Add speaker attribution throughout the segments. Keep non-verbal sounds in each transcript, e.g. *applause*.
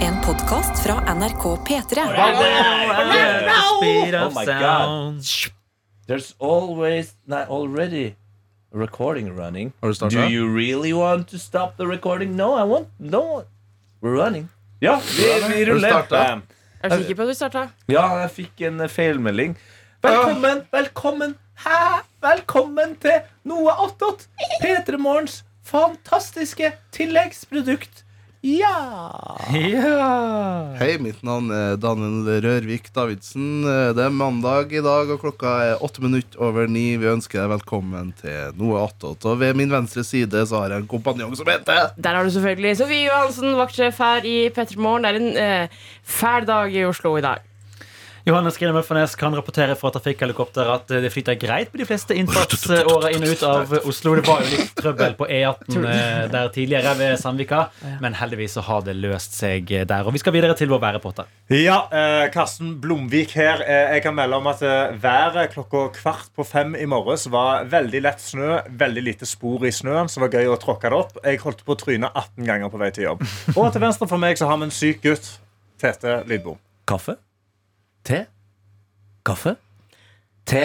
Speaker 1: En podkast fra NRK P3.
Speaker 2: Speed
Speaker 3: Oh
Speaker 2: of
Speaker 3: my
Speaker 2: sound.
Speaker 3: There's always not already a recording running.
Speaker 4: Har du startet?
Speaker 3: Do you really want to stop the recording? No, I want no. We're running. Ja, vi, vi ruller.
Speaker 4: startet?
Speaker 3: Bam.
Speaker 5: Er du sikker på at du starta?
Speaker 3: Ja, jeg fikk en eh, feilmelding. Velkommen, velkommen, hæ? Velkommen til Noe attåt. P3 Morgens fantastiske tilleggsprodukt. Ja.
Speaker 2: Ja.
Speaker 4: Hei, mitt navn er Daniel Rørvik Davidsen. Eh, Det er mandag i dag, og klokka er åtte minutter over ni. Vi ønsker deg velkommen til Noe attåt. Og ved min venstre side så har jeg en kompanjong som heter
Speaker 5: Der har du selvfølgelig Sofie Johansen, vaktsjef her i P3 Morgen. Det er en eh, fæl dag i Oslo i dag.
Speaker 2: Johannes Grine Møffernes kan rapportere fra trafikkhelikopter at eh, det flyter greit på de fleste innfartsårer inn og ut av Oslo. Det var jo litt trøbbel på E18 eh, der tidligere ved Sandvika, men heldigvis så har det løst seg eh, der. Og vi skal videre til vår værepotte.
Speaker 6: Ja, eh, Karsten Blomvik her. Eh, jeg kan melde om at eh, været klokka kvart på fem i morges var veldig lett snø. Veldig lite spor i snøen, så det var gøy å tråkke det opp. Jeg holdt på å tryne 18 ganger på vei til jobb. Og til venstre for meg så har vi en syk gutt. Tete Lydbom.
Speaker 3: Kaffe. Te. Kaffe. Te.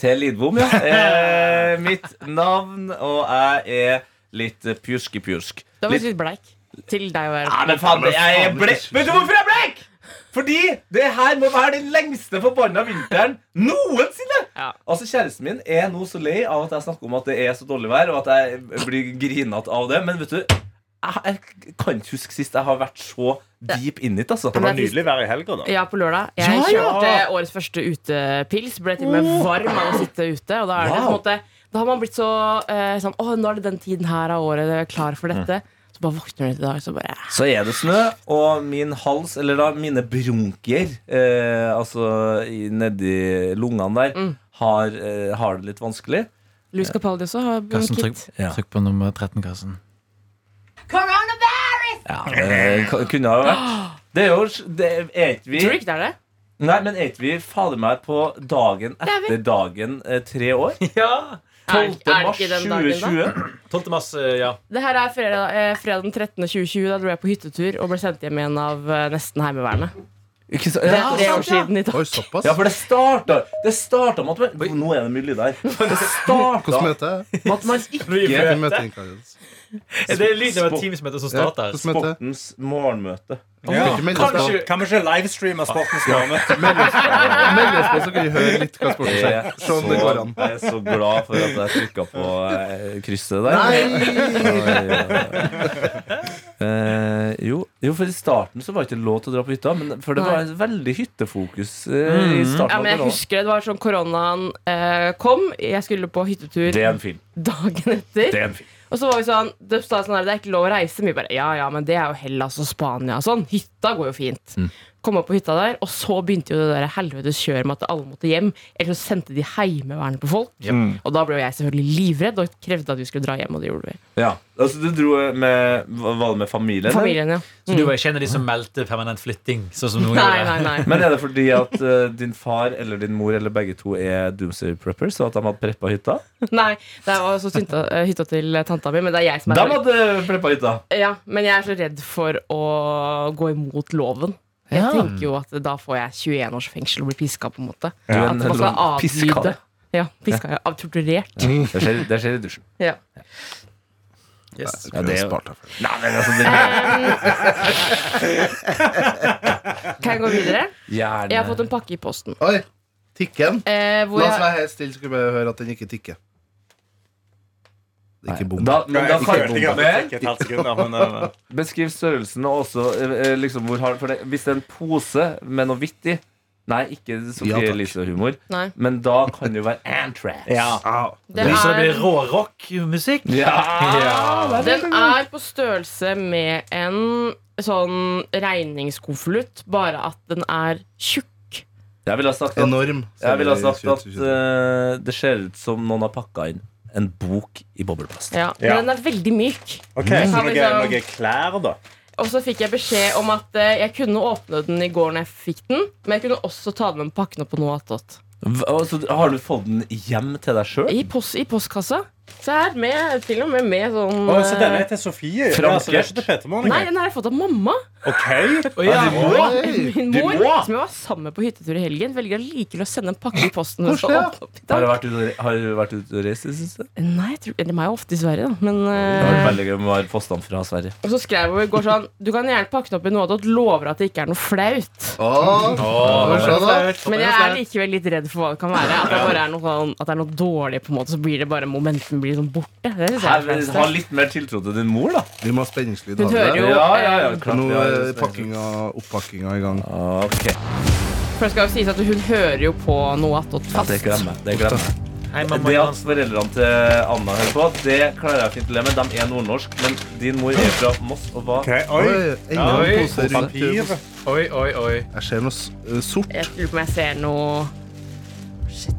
Speaker 3: Te Lidbom,
Speaker 5: *laughs*
Speaker 3: ja. Eh, mitt navn, og jeg er litt eh, pjuskepjusk.
Speaker 5: Du er
Speaker 3: Litt-
Speaker 5: faktisk litt bleik. Til deg å
Speaker 3: Nei,
Speaker 5: være.
Speaker 3: men faen,
Speaker 4: Men
Speaker 3: jeg er
Speaker 4: faen,
Speaker 3: blek.
Speaker 4: ikke-
Speaker 3: Vet du hvorfor jeg er blek? Fordi det her må være den lengste forbanna vinteren noensinne!
Speaker 5: Ja.
Speaker 3: Altså, Kjæresten min er nå så lei av at jeg snakker om at det er så dårlig vær, og at jeg blir grinete av det, men vet du jeg, jeg kan ikke huske sist jeg har vært så deep in it, altså.
Speaker 6: Det var
Speaker 5: Men det er
Speaker 6: nydelig vær i helga, da.
Speaker 5: Ja, på lørdag. Jeg
Speaker 3: Ja, ja.
Speaker 5: kjørte årets første utepils. Ble til og med varm av å sitte ute. Og da, er det på en
Speaker 3: Wow.
Speaker 5: måte, da har man blitt så eh, sånn Å, nå er det den tiden her av året, jeg er klar for dette. Så bare våkner du til i dag, så bare
Speaker 3: Så er det snø, og min hals, eller da mine bronkier, eh, altså i- nedi lungene der,
Speaker 5: Mm.
Speaker 3: har, eh, har det litt vanskelig.
Speaker 5: Louis Capaldi også har
Speaker 7: Karsten,
Speaker 5: kitt.
Speaker 7: trykk, trykk på nummer 13, Karsten.
Speaker 3: Ja, det eh, k- kunne ha vært. Det er jo det er ikke
Speaker 5: Tror du
Speaker 3: vi
Speaker 5: ikke det er det?
Speaker 3: Nei, men er ikke vi fader meg på dagen
Speaker 5: vi.
Speaker 3: etter dagen eh, tre
Speaker 5: *laughs*
Speaker 3: år?
Speaker 2: Ja.
Speaker 5: Er- er
Speaker 3: 12.
Speaker 5: det
Speaker 3: mars
Speaker 5: ikke den dagen, da?
Speaker 3: 2020.
Speaker 2: 12. mars, eh, ja.
Speaker 5: Det her er fredag, eh, fredag den 13. 2020. Da dro jeg på hyttetur og ble sendt hjem igjen av eh, nesten Heimevernet.
Speaker 3: Ikke så,
Speaker 5: Det
Speaker 3: ja,
Speaker 5: er tre år
Speaker 3: sant, ja.
Speaker 5: siden i dag.
Speaker 4: Oi, såpass?
Speaker 3: Ja, for det starta Det starta med at man, Nå er det mye lyd *laughs* her. Det starta
Speaker 4: Hvordan
Speaker 3: med
Speaker 4: møter jeg?
Speaker 3: at man ikke
Speaker 4: Hvilken møteinnkallelse?
Speaker 2: Det er lyden av et teamsmøte som
Speaker 4: Ja,
Speaker 2: starter.
Speaker 3: Mm.
Speaker 4: hvordan møter jeg?
Speaker 3: Sportens morgenmøte.
Speaker 6: Ja.
Speaker 4: Ikke meld oss på.
Speaker 2: Kanskje-
Speaker 6: Kan vi ikke livestreame Sportens morgen?
Speaker 4: Meld oss på. Meld oss på, så kan vi høre litt hva
Speaker 3: *laughs*
Speaker 4: sporten
Speaker 3: Jeg
Speaker 4: skjer.
Speaker 3: er,
Speaker 4: Se
Speaker 3: så,
Speaker 4: om det går an.
Speaker 3: jeg er så glad for at jeg trykka på eh, krysset der. Eh, jo, jo, for i starten så var det ikke lov til å dra på hytta, men for det var veldig hyttefokus eh, i starten.
Speaker 5: Ja,
Speaker 3: av
Speaker 5: men jeg
Speaker 3: koronaen.
Speaker 5: husker det, det var sånn koronaen eh, kom. Jeg skulle på hyttetur
Speaker 3: det er en film.
Speaker 5: dagen etter.
Speaker 3: Det er en film.
Speaker 5: Og så var vi sånn, det sa sånn her, det er ikke lov å reise. Vi bare, ja, ja, men det er jo Hellas og Spania og sånn. Hytta går jo fint.
Speaker 3: Mm.
Speaker 5: Kom opp på hytta der, og så begynte jo det der helvetes kjør med at alle måtte hjem. Eller så sendte de heimevernet på folk.
Speaker 3: Mm.
Speaker 5: Og da ble jo jeg selvfølgelig livredd og krevde at vi skulle dra hjem, og det gjorde vi.
Speaker 3: Ja, altså du dro med hva- Var det med familien? eller?
Speaker 5: Familien, ja.
Speaker 2: Så du var ikke en av de som meldte permanent flytting? Sånn som noen
Speaker 5: Nei,
Speaker 2: gjorde
Speaker 5: nei, nei.
Speaker 3: Men er det fordi at eh, din far eller din mor eller begge to er doomsday preppers, og at de hadde preppa hytta?
Speaker 5: nei det var også synta, eh, hytta til tanta mi, men det er jeg som
Speaker 3: De
Speaker 5: er
Speaker 3: hadde preppa hytta!
Speaker 5: ja, Men jeg er så redd for å gå imot loven. Jeg tenker jo at da får jeg 21 års fengsel og blir piska, på en måte.
Speaker 3: Du er
Speaker 5: At
Speaker 3: en
Speaker 5: man skal
Speaker 3: sånn piska.
Speaker 5: avlyde. Ja, piska, ja. Torturert.
Speaker 3: Det skjer, det skjer i dusjen.
Speaker 5: Ja.
Speaker 2: Yes.
Speaker 3: Ja, det er jo-
Speaker 4: Spart deg for det.
Speaker 3: Nei, men altså, det,
Speaker 5: Kan jeg gå videre?
Speaker 3: gjerne.
Speaker 5: Jeg har fått en pakke i posten.
Speaker 4: Oi, tikken.
Speaker 5: Eh, hvor
Speaker 4: La oss
Speaker 5: jeg,
Speaker 4: være helt stille, så skal vi bare høre at den ikke tikker. Det er ikke bom.
Speaker 3: da, men da
Speaker 6: Jeg
Speaker 3: kan
Speaker 6: følte ikke at det tok et halvt sekund, da, men, eh,
Speaker 3: Beskriv størrelsen og også eh, eh, liksom, hvor hard, for det, Hvis det er en pose med noe hvitt i Nei, ikke
Speaker 4: Ja,
Speaker 3: Sofie
Speaker 4: takk.
Speaker 3: Elise-humor,
Speaker 5: nei,
Speaker 3: men da kan det jo være Antrax.
Speaker 4: Au.
Speaker 5: den,
Speaker 2: Så det blir
Speaker 5: er,
Speaker 2: rå rockmusikk?
Speaker 3: Ja.
Speaker 5: den er på størrelse med en sånn regningskonvolutt, bare at den er tjukk.
Speaker 3: Jeg ville ha sagt at,
Speaker 4: Enorm.
Speaker 3: jeg ville ha sagt at eh, det ser ut som noen har pakka inn en bok i bobleplast.
Speaker 5: Ja,
Speaker 6: Ja.
Speaker 5: Men den er veldig myk.
Speaker 6: OK, så
Speaker 5: Kan vi
Speaker 6: noe,
Speaker 5: liksom-
Speaker 6: noe klær, da?
Speaker 5: Og så fikk jeg beskjed om at eh, jeg kunne åpne den i går når jeg fikk den, men jeg kunne også ta den med pakkene på noe attåt.
Speaker 3: Hva- Altså, har du fått den hjem til deg sjøl?
Speaker 5: I, post, I postkassa. Se her, med, til og med med sånn
Speaker 6: Å, så denne
Speaker 5: eh,
Speaker 6: er til Sofie? Ja, altså, det er ikke til Peter Morning?
Speaker 5: Nei, den har jeg fått av mamma.
Speaker 6: OK.
Speaker 3: eh,
Speaker 4: Oi,
Speaker 5: Min
Speaker 6: Du
Speaker 5: mor,
Speaker 6: må!
Speaker 5: som jeg var sammen med på hyttetur i helgen, velger allikevel å sende en pakke i posten. hos
Speaker 4: Koselig, ja.
Speaker 5: opp- opp i
Speaker 3: Har
Speaker 5: dag.
Speaker 3: du vært ute har du vært ute og reist i det siste?
Speaker 5: Nei, jeg tror, de er jo ofte i Sverige, da. Men,
Speaker 3: Det har vært
Speaker 5: eh,
Speaker 3: veldig gøy med postene fra Sverige.
Speaker 5: og så skrev hun i går sånn Du kan gjerne pakke den opp i noe og lover at det ikke er noe flaut.
Speaker 4: Å, se da.
Speaker 5: Men jeg
Speaker 3: altså.
Speaker 5: er likevel litt redd for hva det kan være. At det bare er noe, sånn, at det er noe dårlig, på en måte, så blir det bare momenten blir sånn borte. Det synes jeg er
Speaker 3: Her, Ha
Speaker 5: flaut.
Speaker 3: litt mer tiltro til din mor, da.
Speaker 4: Vi må ha spenningslyd.
Speaker 5: Hun
Speaker 4: av det.
Speaker 5: hører jo
Speaker 3: Ja, ja, ja,
Speaker 5: eh,
Speaker 3: klart
Speaker 4: Nå
Speaker 3: vi har-
Speaker 4: er pakkinga, oppakkinga i gang.
Speaker 3: Ok,
Speaker 5: For det skal jo sies at hun hører jo på noe attåt fast.
Speaker 3: det glemmer jeg. Det glemmer jeg.
Speaker 2: Hei, mamma,
Speaker 3: Det
Speaker 2: Jan.
Speaker 3: at foreldrene til Anna hører på, det klarer jeg fint å leve med. De er nordnorsk, men din mor er fra Moss og hva?
Speaker 6: ok, Oi.
Speaker 4: Oi, enda
Speaker 2: Oi.
Speaker 4: en pose rundt.
Speaker 6: Papir.
Speaker 2: Oi, oi, oi.
Speaker 4: Jeg ser noe s- eh, sort.
Speaker 5: Jeg lurer på om jeg ser noe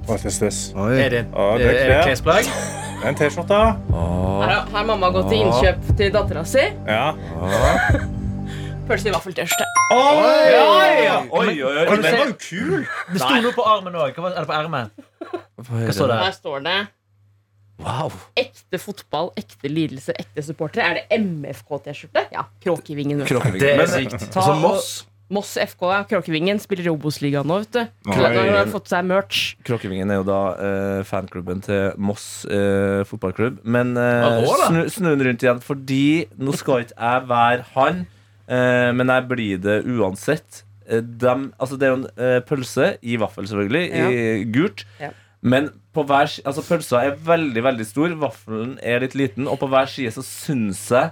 Speaker 6: Hva er det?
Speaker 4: Oi.
Speaker 2: Er det,
Speaker 6: Å, det
Speaker 2: er
Speaker 6: er
Speaker 2: det
Speaker 6: klær.
Speaker 2: klesplagg?
Speaker 6: En T-skjorte?
Speaker 5: Her har- her har mamma gått til innkjøp til dattera si.
Speaker 6: Ja.
Speaker 5: Pølse i vaffeltørste.
Speaker 3: Ja, Oi, oi, oi.
Speaker 6: Men den var jo kul!
Speaker 2: Det sto noe på armen òg. Eller på ermet. Hva står det?
Speaker 5: Her står det
Speaker 3: Wow.
Speaker 5: ekte fotball, ekte lidelse, ekte supportere. Er det MFK-T-skjorte? Ja. Kråkevingen. vet du.
Speaker 2: Det er
Speaker 3: Men
Speaker 2: sykt.
Speaker 3: ta
Speaker 4: Altså
Speaker 3: og-
Speaker 4: Moss.
Speaker 5: Moss FK, ja. Kråkevingen spiller i Obos-ligaen nå, vet du.
Speaker 6: Oi.
Speaker 5: Så Da har de fått seg merch.
Speaker 3: Kråkevingen er jo da eh, fanklubben til Moss eh, fotballklubb. Men eh,
Speaker 2: Ja, rå, da.
Speaker 3: snu, snu den rundt igjen, fordi nå skal ikke jeg være han, eh, men jeg blir det uansett. Eh, dem- altså det er jo en eh, pølse i vaffel, selvfølgelig, i gult.
Speaker 5: Ja.
Speaker 3: Men på hver, si- altså pølsa er veldig veldig stor, vaffelen er litt liten, og på hver side så syns jeg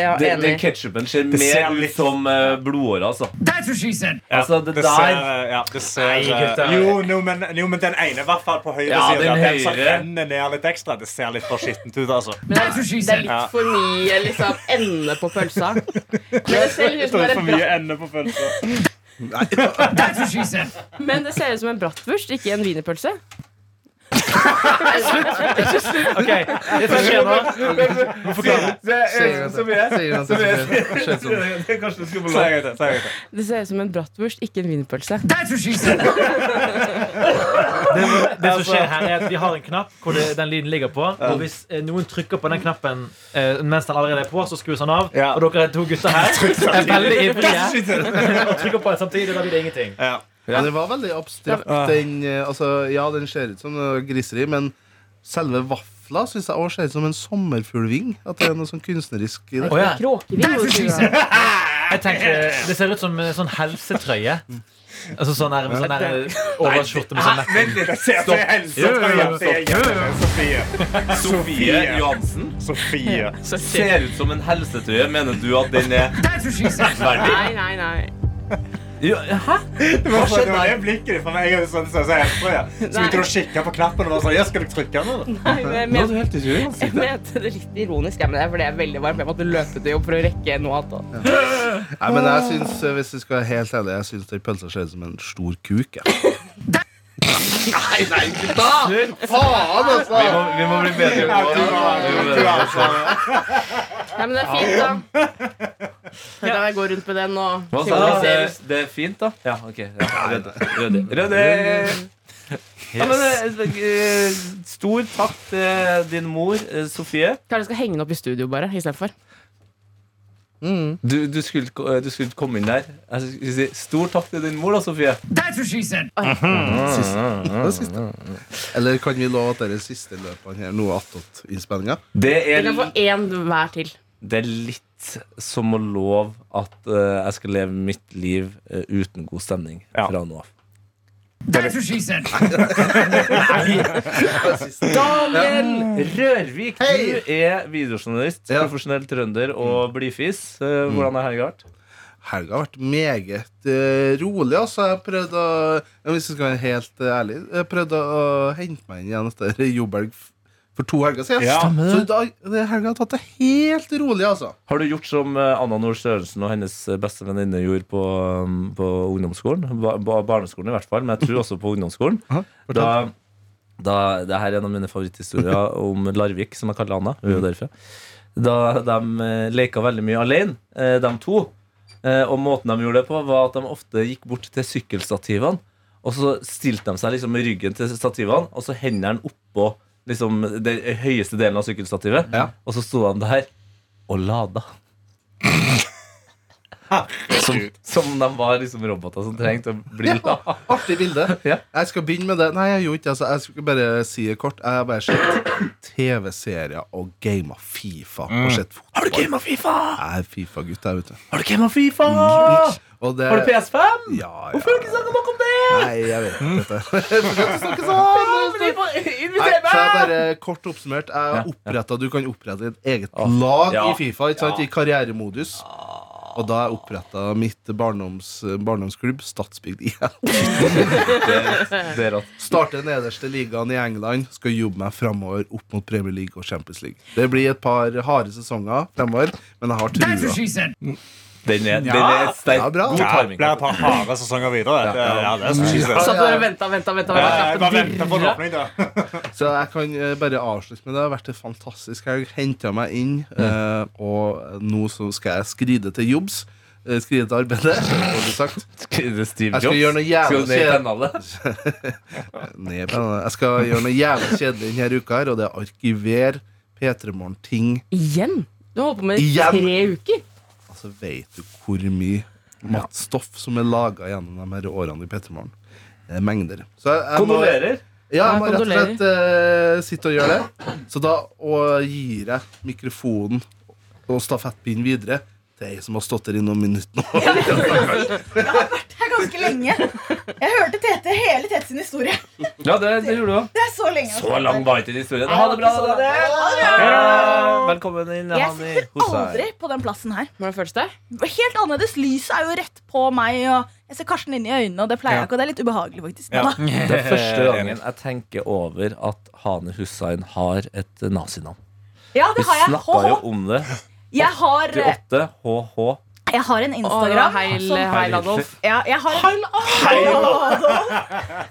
Speaker 5: Ja,
Speaker 3: den, den
Speaker 5: enig.
Speaker 3: ketsjupen ser
Speaker 6: ser
Speaker 3: mer
Speaker 6: litt-
Speaker 3: ut som eh, blodåre, altså. altså det der
Speaker 6: Det ser, ja, det ser
Speaker 2: Nei, gutter.
Speaker 6: jo, no, men, jo, men den ene, i hvert fall på høyre
Speaker 3: Ja,
Speaker 6: side,
Speaker 3: den
Speaker 6: den som
Speaker 3: høyre.
Speaker 6: renner ned litt ekstra, det ser litt for skittent ut, altså.
Speaker 5: Men det, er- det er
Speaker 6: Ja.
Speaker 5: litt for mye liksom, ende på pølsa. Men det ser ut som
Speaker 6: Det er
Speaker 5: en
Speaker 6: for
Speaker 5: bratt,
Speaker 6: mye ende på pølsa.
Speaker 5: men det ser ut som en brattwurst, ikke en wienerpølse.
Speaker 2: Ok, det som skjer nå
Speaker 4: Sier
Speaker 6: Så mye.
Speaker 4: han til Sofie. Ser sånn.
Speaker 6: Kanskje du skulle få lov.
Speaker 5: Det ser ut som en brattwurst, ikke en wienerpølse.
Speaker 2: Det som skjer her er at Vi har en knapp hvor det, den lyden ligger på. Og Hvis eh, noen trykker på den knappen eh, mens den allerede er på, så skrus den av.
Speaker 6: Ja.
Speaker 2: Og dere to gutter her er veldig ivrige og trykker på den samtidig. Da blir det ingenting.
Speaker 4: *laughs* Ja, det var veldig abstrakt. Den, eh, altså, ja, den ser ut som noe griseri, men selve vafla syns jeg òg ser ut som en sommerfuglving. At det er noe sånn kunstnerisk i det.
Speaker 2: Å, ja.
Speaker 5: Kråkeving. må du si da.
Speaker 2: *laughs* Jeg tenker, Det ser ut som eh, sånn helsetrøye. Altså sånn her, med sånn her eh, overskjorte med sånn nepp.
Speaker 6: Vent litt, jeg ser til Else. Det er hjemme. Sofie.
Speaker 3: Sofie
Speaker 6: Sofie.
Speaker 3: Johansen
Speaker 6: Sofie.
Speaker 3: ser ut som en helsetrøye. Mener du at den *laughs* er
Speaker 5: Nei, nei, nei.
Speaker 3: Ja, Hæ?
Speaker 6: Det var sånn, det var det blikket ditt for meg. Jeg hadde sånn, sånn, sånn, sånn, sånn, sånn. Så begynte du å kikke på knappen og var sånn Ja, skal du trykke nå?
Speaker 5: nei men jeg, mente,
Speaker 3: helt i
Speaker 5: jeg mente det litt ironisk, jeg, men det er fordi jeg er veldig varm. Jeg måtte løpe til jobb for å rekke noe annet. da.
Speaker 4: Nei, men jeg synes, eh, Hvis vi skal være helt ærlige, jeg syns den pølsa ser ut som en stor kuk. Jeg.
Speaker 3: Vi må, vi må bli bedre på det. Vi må-
Speaker 5: Nei, men det er fint, da. Da kan jeg gå rundt med den og
Speaker 3: Hva sa du? Det, det er fint, da? Ja, OK. Ja, Rødde. Rødde. Rødde. Ja, men, eh, eh, stor takk til din mor, eh, Sofie.
Speaker 5: Kanskje jeg skal henge den opp i studio bare, istedenfor.
Speaker 3: Du, du, skulle, ko- eh, du skulle komme inn der. Jeg skulle si stor takk til din mor, da, Sofie.
Speaker 4: Det er siste. Eller kan vi love at det er siste løpene her, noe attåt innspillinga?
Speaker 3: Det
Speaker 5: Vi
Speaker 3: er,
Speaker 5: kan få én hver til.
Speaker 3: det er litt som å love at eh, jeg skal leve mitt liv eh, uten god stemning
Speaker 6: Ja.
Speaker 3: fra nå av. *laughs*
Speaker 5: Daniel!
Speaker 3: Rørvik,
Speaker 4: Hei!
Speaker 3: du er videojournalist,
Speaker 4: Ja.
Speaker 3: profesjonell trønder og blidfis. Eh, Hvordan er helga vært?
Speaker 4: Helga har vært meget eh, rolig. Altså. Jeg prøvde å ja, Hvis jeg skal være helt eh, ærlig Jeg prøvde å hente meg inn igjen etter jobbhelg f- for to helger siden.
Speaker 6: Ja.
Speaker 4: Så da, det helga har tatt det helt rolig, altså.
Speaker 3: Har du gjort som eh, Anna Nord Sørensen og hennes eh, beste venninne gjorde på, um, på ungdomsskolen? Ba ba barneskolen i hvert fall, men jeg tror også på ungdomsskolen.
Speaker 4: Aha,
Speaker 3: da, da, det her er en av mine favoritthistorier
Speaker 4: *laughs*
Speaker 3: om Larvik, som jeg kaller Anna. Hun er jo derfra. Da de eh, leka veldig mye alene, eh, de to. Eh, Og måten de gjorde det på, var at de ofte gikk bort til sykkelstativene. Og så stilte de seg liksom med ryggen til stativene og så hendene oppå liksom, den høyeste delen av sykkelstativet.
Speaker 4: Ja.
Speaker 3: Og så sto han der og lada. Som, som de var liksom roboter som trengte å bli lada.
Speaker 4: Artig bilde.
Speaker 3: *laughs* Ja.
Speaker 4: Jeg skal begynne med det. Nei, jeg gjorde ikke det. Altså, jeg skal bare si det kort. Jeg har bare sett TV-serier og gama Fifa. Og sett fotball.
Speaker 3: Har du gama Fifa?
Speaker 4: Jeg er Fifa-gutt, jeg, vet du.
Speaker 3: Har du gama Fifa?
Speaker 4: Og det,
Speaker 3: Har du PS5?
Speaker 4: Ja, ja.
Speaker 3: Hvorfor har du ikke snakket nok om det? Mm.
Speaker 4: Nei, jeg vet ikke. Jeg skal ikke snakke sånn. Nei, så jeg bare Kort oppsummert. Jeg har opprettet, Du kan opprette et eget lag
Speaker 3: Ja.
Speaker 4: i Fifa ikke sant? i karrieremodus. Og da har jeg oppretta mitt barndoms, barndomsklubb, Statsbygd igjen.
Speaker 3: Det er rått.
Speaker 4: Starter nederste ligaen i England, skal jobbe meg framover opp mot Premier League og Champions League. Det blir et par harde sesonger fremover, men jeg har trua.
Speaker 3: Den er, den er sterk.
Speaker 4: Ja, bra.
Speaker 3: God
Speaker 6: Ja, det
Speaker 3: timing.
Speaker 6: blir et par harde sesonger videre. sånn Ja, det er så skisert.
Speaker 5: Satt der og venta, venta, venta.
Speaker 6: Jeg bare venter på en åpning, da.
Speaker 4: Så jeg kan eh, bare avslutte med det. Det har vært en fantastisk helg. Henta meg inn, eh, og nå så skal jeg skride til jobbs. Eh, Skride til arbeidet, *laughs* har du sagt.
Speaker 3: Det er Steve
Speaker 4: Jeg skal gjøre noe jævla
Speaker 3: Skal du ned i
Speaker 4: skje-
Speaker 3: pennalet?
Speaker 4: Nei, men Jeg skal gjøre noe jævlig kjedelig denne uka, her, og det er arkiver P3 Morgen-ting.
Speaker 5: Igjen? Du har holdt på med det i
Speaker 4: Igjen?
Speaker 5: tre uker.
Speaker 4: Altså, Vet du hvor mye mat- stoff som er laga gjennom de her årene i P3 Morgen? Det er mengder. Så jeg, jeg må-
Speaker 3: Kondolerer.
Speaker 4: Ja,
Speaker 5: Ja,
Speaker 4: jeg må rett og
Speaker 5: kondolerer.
Speaker 4: slett eh, sitte og gjøre det. Så da og gir jeg mikrofonen og stafettpinnen videre til ei som har stått der i noen minutter nå.
Speaker 8: her ganske lenge. Jeg hørte Tete hele Tete sin historie.
Speaker 3: Ja, det, det gjorde du òg.
Speaker 8: Det er så lenge.
Speaker 3: Så lang var ikke den historien. Ha det bra. da, Daniel. Velkommen inn.
Speaker 8: Jeg
Speaker 3: Hani
Speaker 8: sitter
Speaker 3: Hussein.
Speaker 8: aldri på den plassen her.
Speaker 5: Hvordan føles det?
Speaker 8: Helt annerledes. Lyset er jo rett på meg, og jeg ser Karsten inn i øynene, og det pleier jeg ikke, og det er litt ubehagelig, faktisk.
Speaker 6: Ja.
Speaker 8: Men da-
Speaker 3: Det er første gangen jeg tenker over at Hani Hussein har et eh, nazinavn.
Speaker 8: ja
Speaker 3: Vi
Speaker 8: det har jeg.
Speaker 3: snakka jo
Speaker 8: Hå.
Speaker 3: om det.
Speaker 8: Jeg har, eh,
Speaker 3: 88 HH.
Speaker 8: jeg har en
Speaker 5: Å, det var
Speaker 8: Instagram. Altså,
Speaker 5: Heil,
Speaker 8: som-
Speaker 5: heil Adolf.
Speaker 8: Ja, jeg har Heil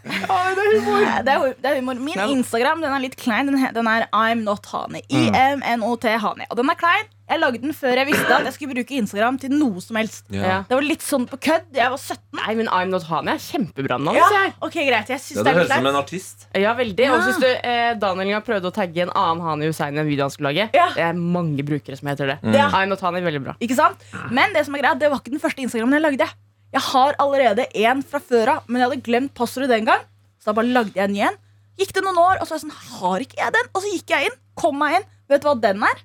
Speaker 8: Det er humor. Det er humor. Min Instagram den er litt klein. Den, he- den er I'm not Hani.
Speaker 3: Mm.
Speaker 8: I-M-N-O-T Hani. Og den er klein. Jeg lagde den før jeg visste at jeg skulle bruke Instagram til noe som helst.
Speaker 5: Ja.
Speaker 8: Det var litt sånn på kødd. Jeg var 17.
Speaker 5: Nei, men I'm Not Han er kjempebra navn.
Speaker 8: Ja,
Speaker 5: sier jeg.
Speaker 8: ok, greit. Jeg syns
Speaker 3: Ja,
Speaker 8: det
Speaker 3: det
Speaker 8: er
Speaker 3: høres
Speaker 8: litt
Speaker 3: ut som en
Speaker 8: kleint.
Speaker 3: artist.
Speaker 5: Ja, veldig. Og synes du eh, Daniel har prøvd å tagge en annen Hani Hussein i en video han skulle lage?
Speaker 8: Ja.
Speaker 5: Det er mange brukere som heter det.
Speaker 8: Ja.
Speaker 5: I'm Not Han er veldig bra.
Speaker 8: Ikke sant? Men det som er greit, det var ikke den første Instagrammen jeg lagde. Jeg har allerede én fra før av, men jeg hadde glemt passordet den gang. Så da bare lagde jeg en ny en. Gikk det noen år, og så var jeg sånn, har ikke jeg den? Og så gikk jeg inn, kom meg inn. Vet du hva den er?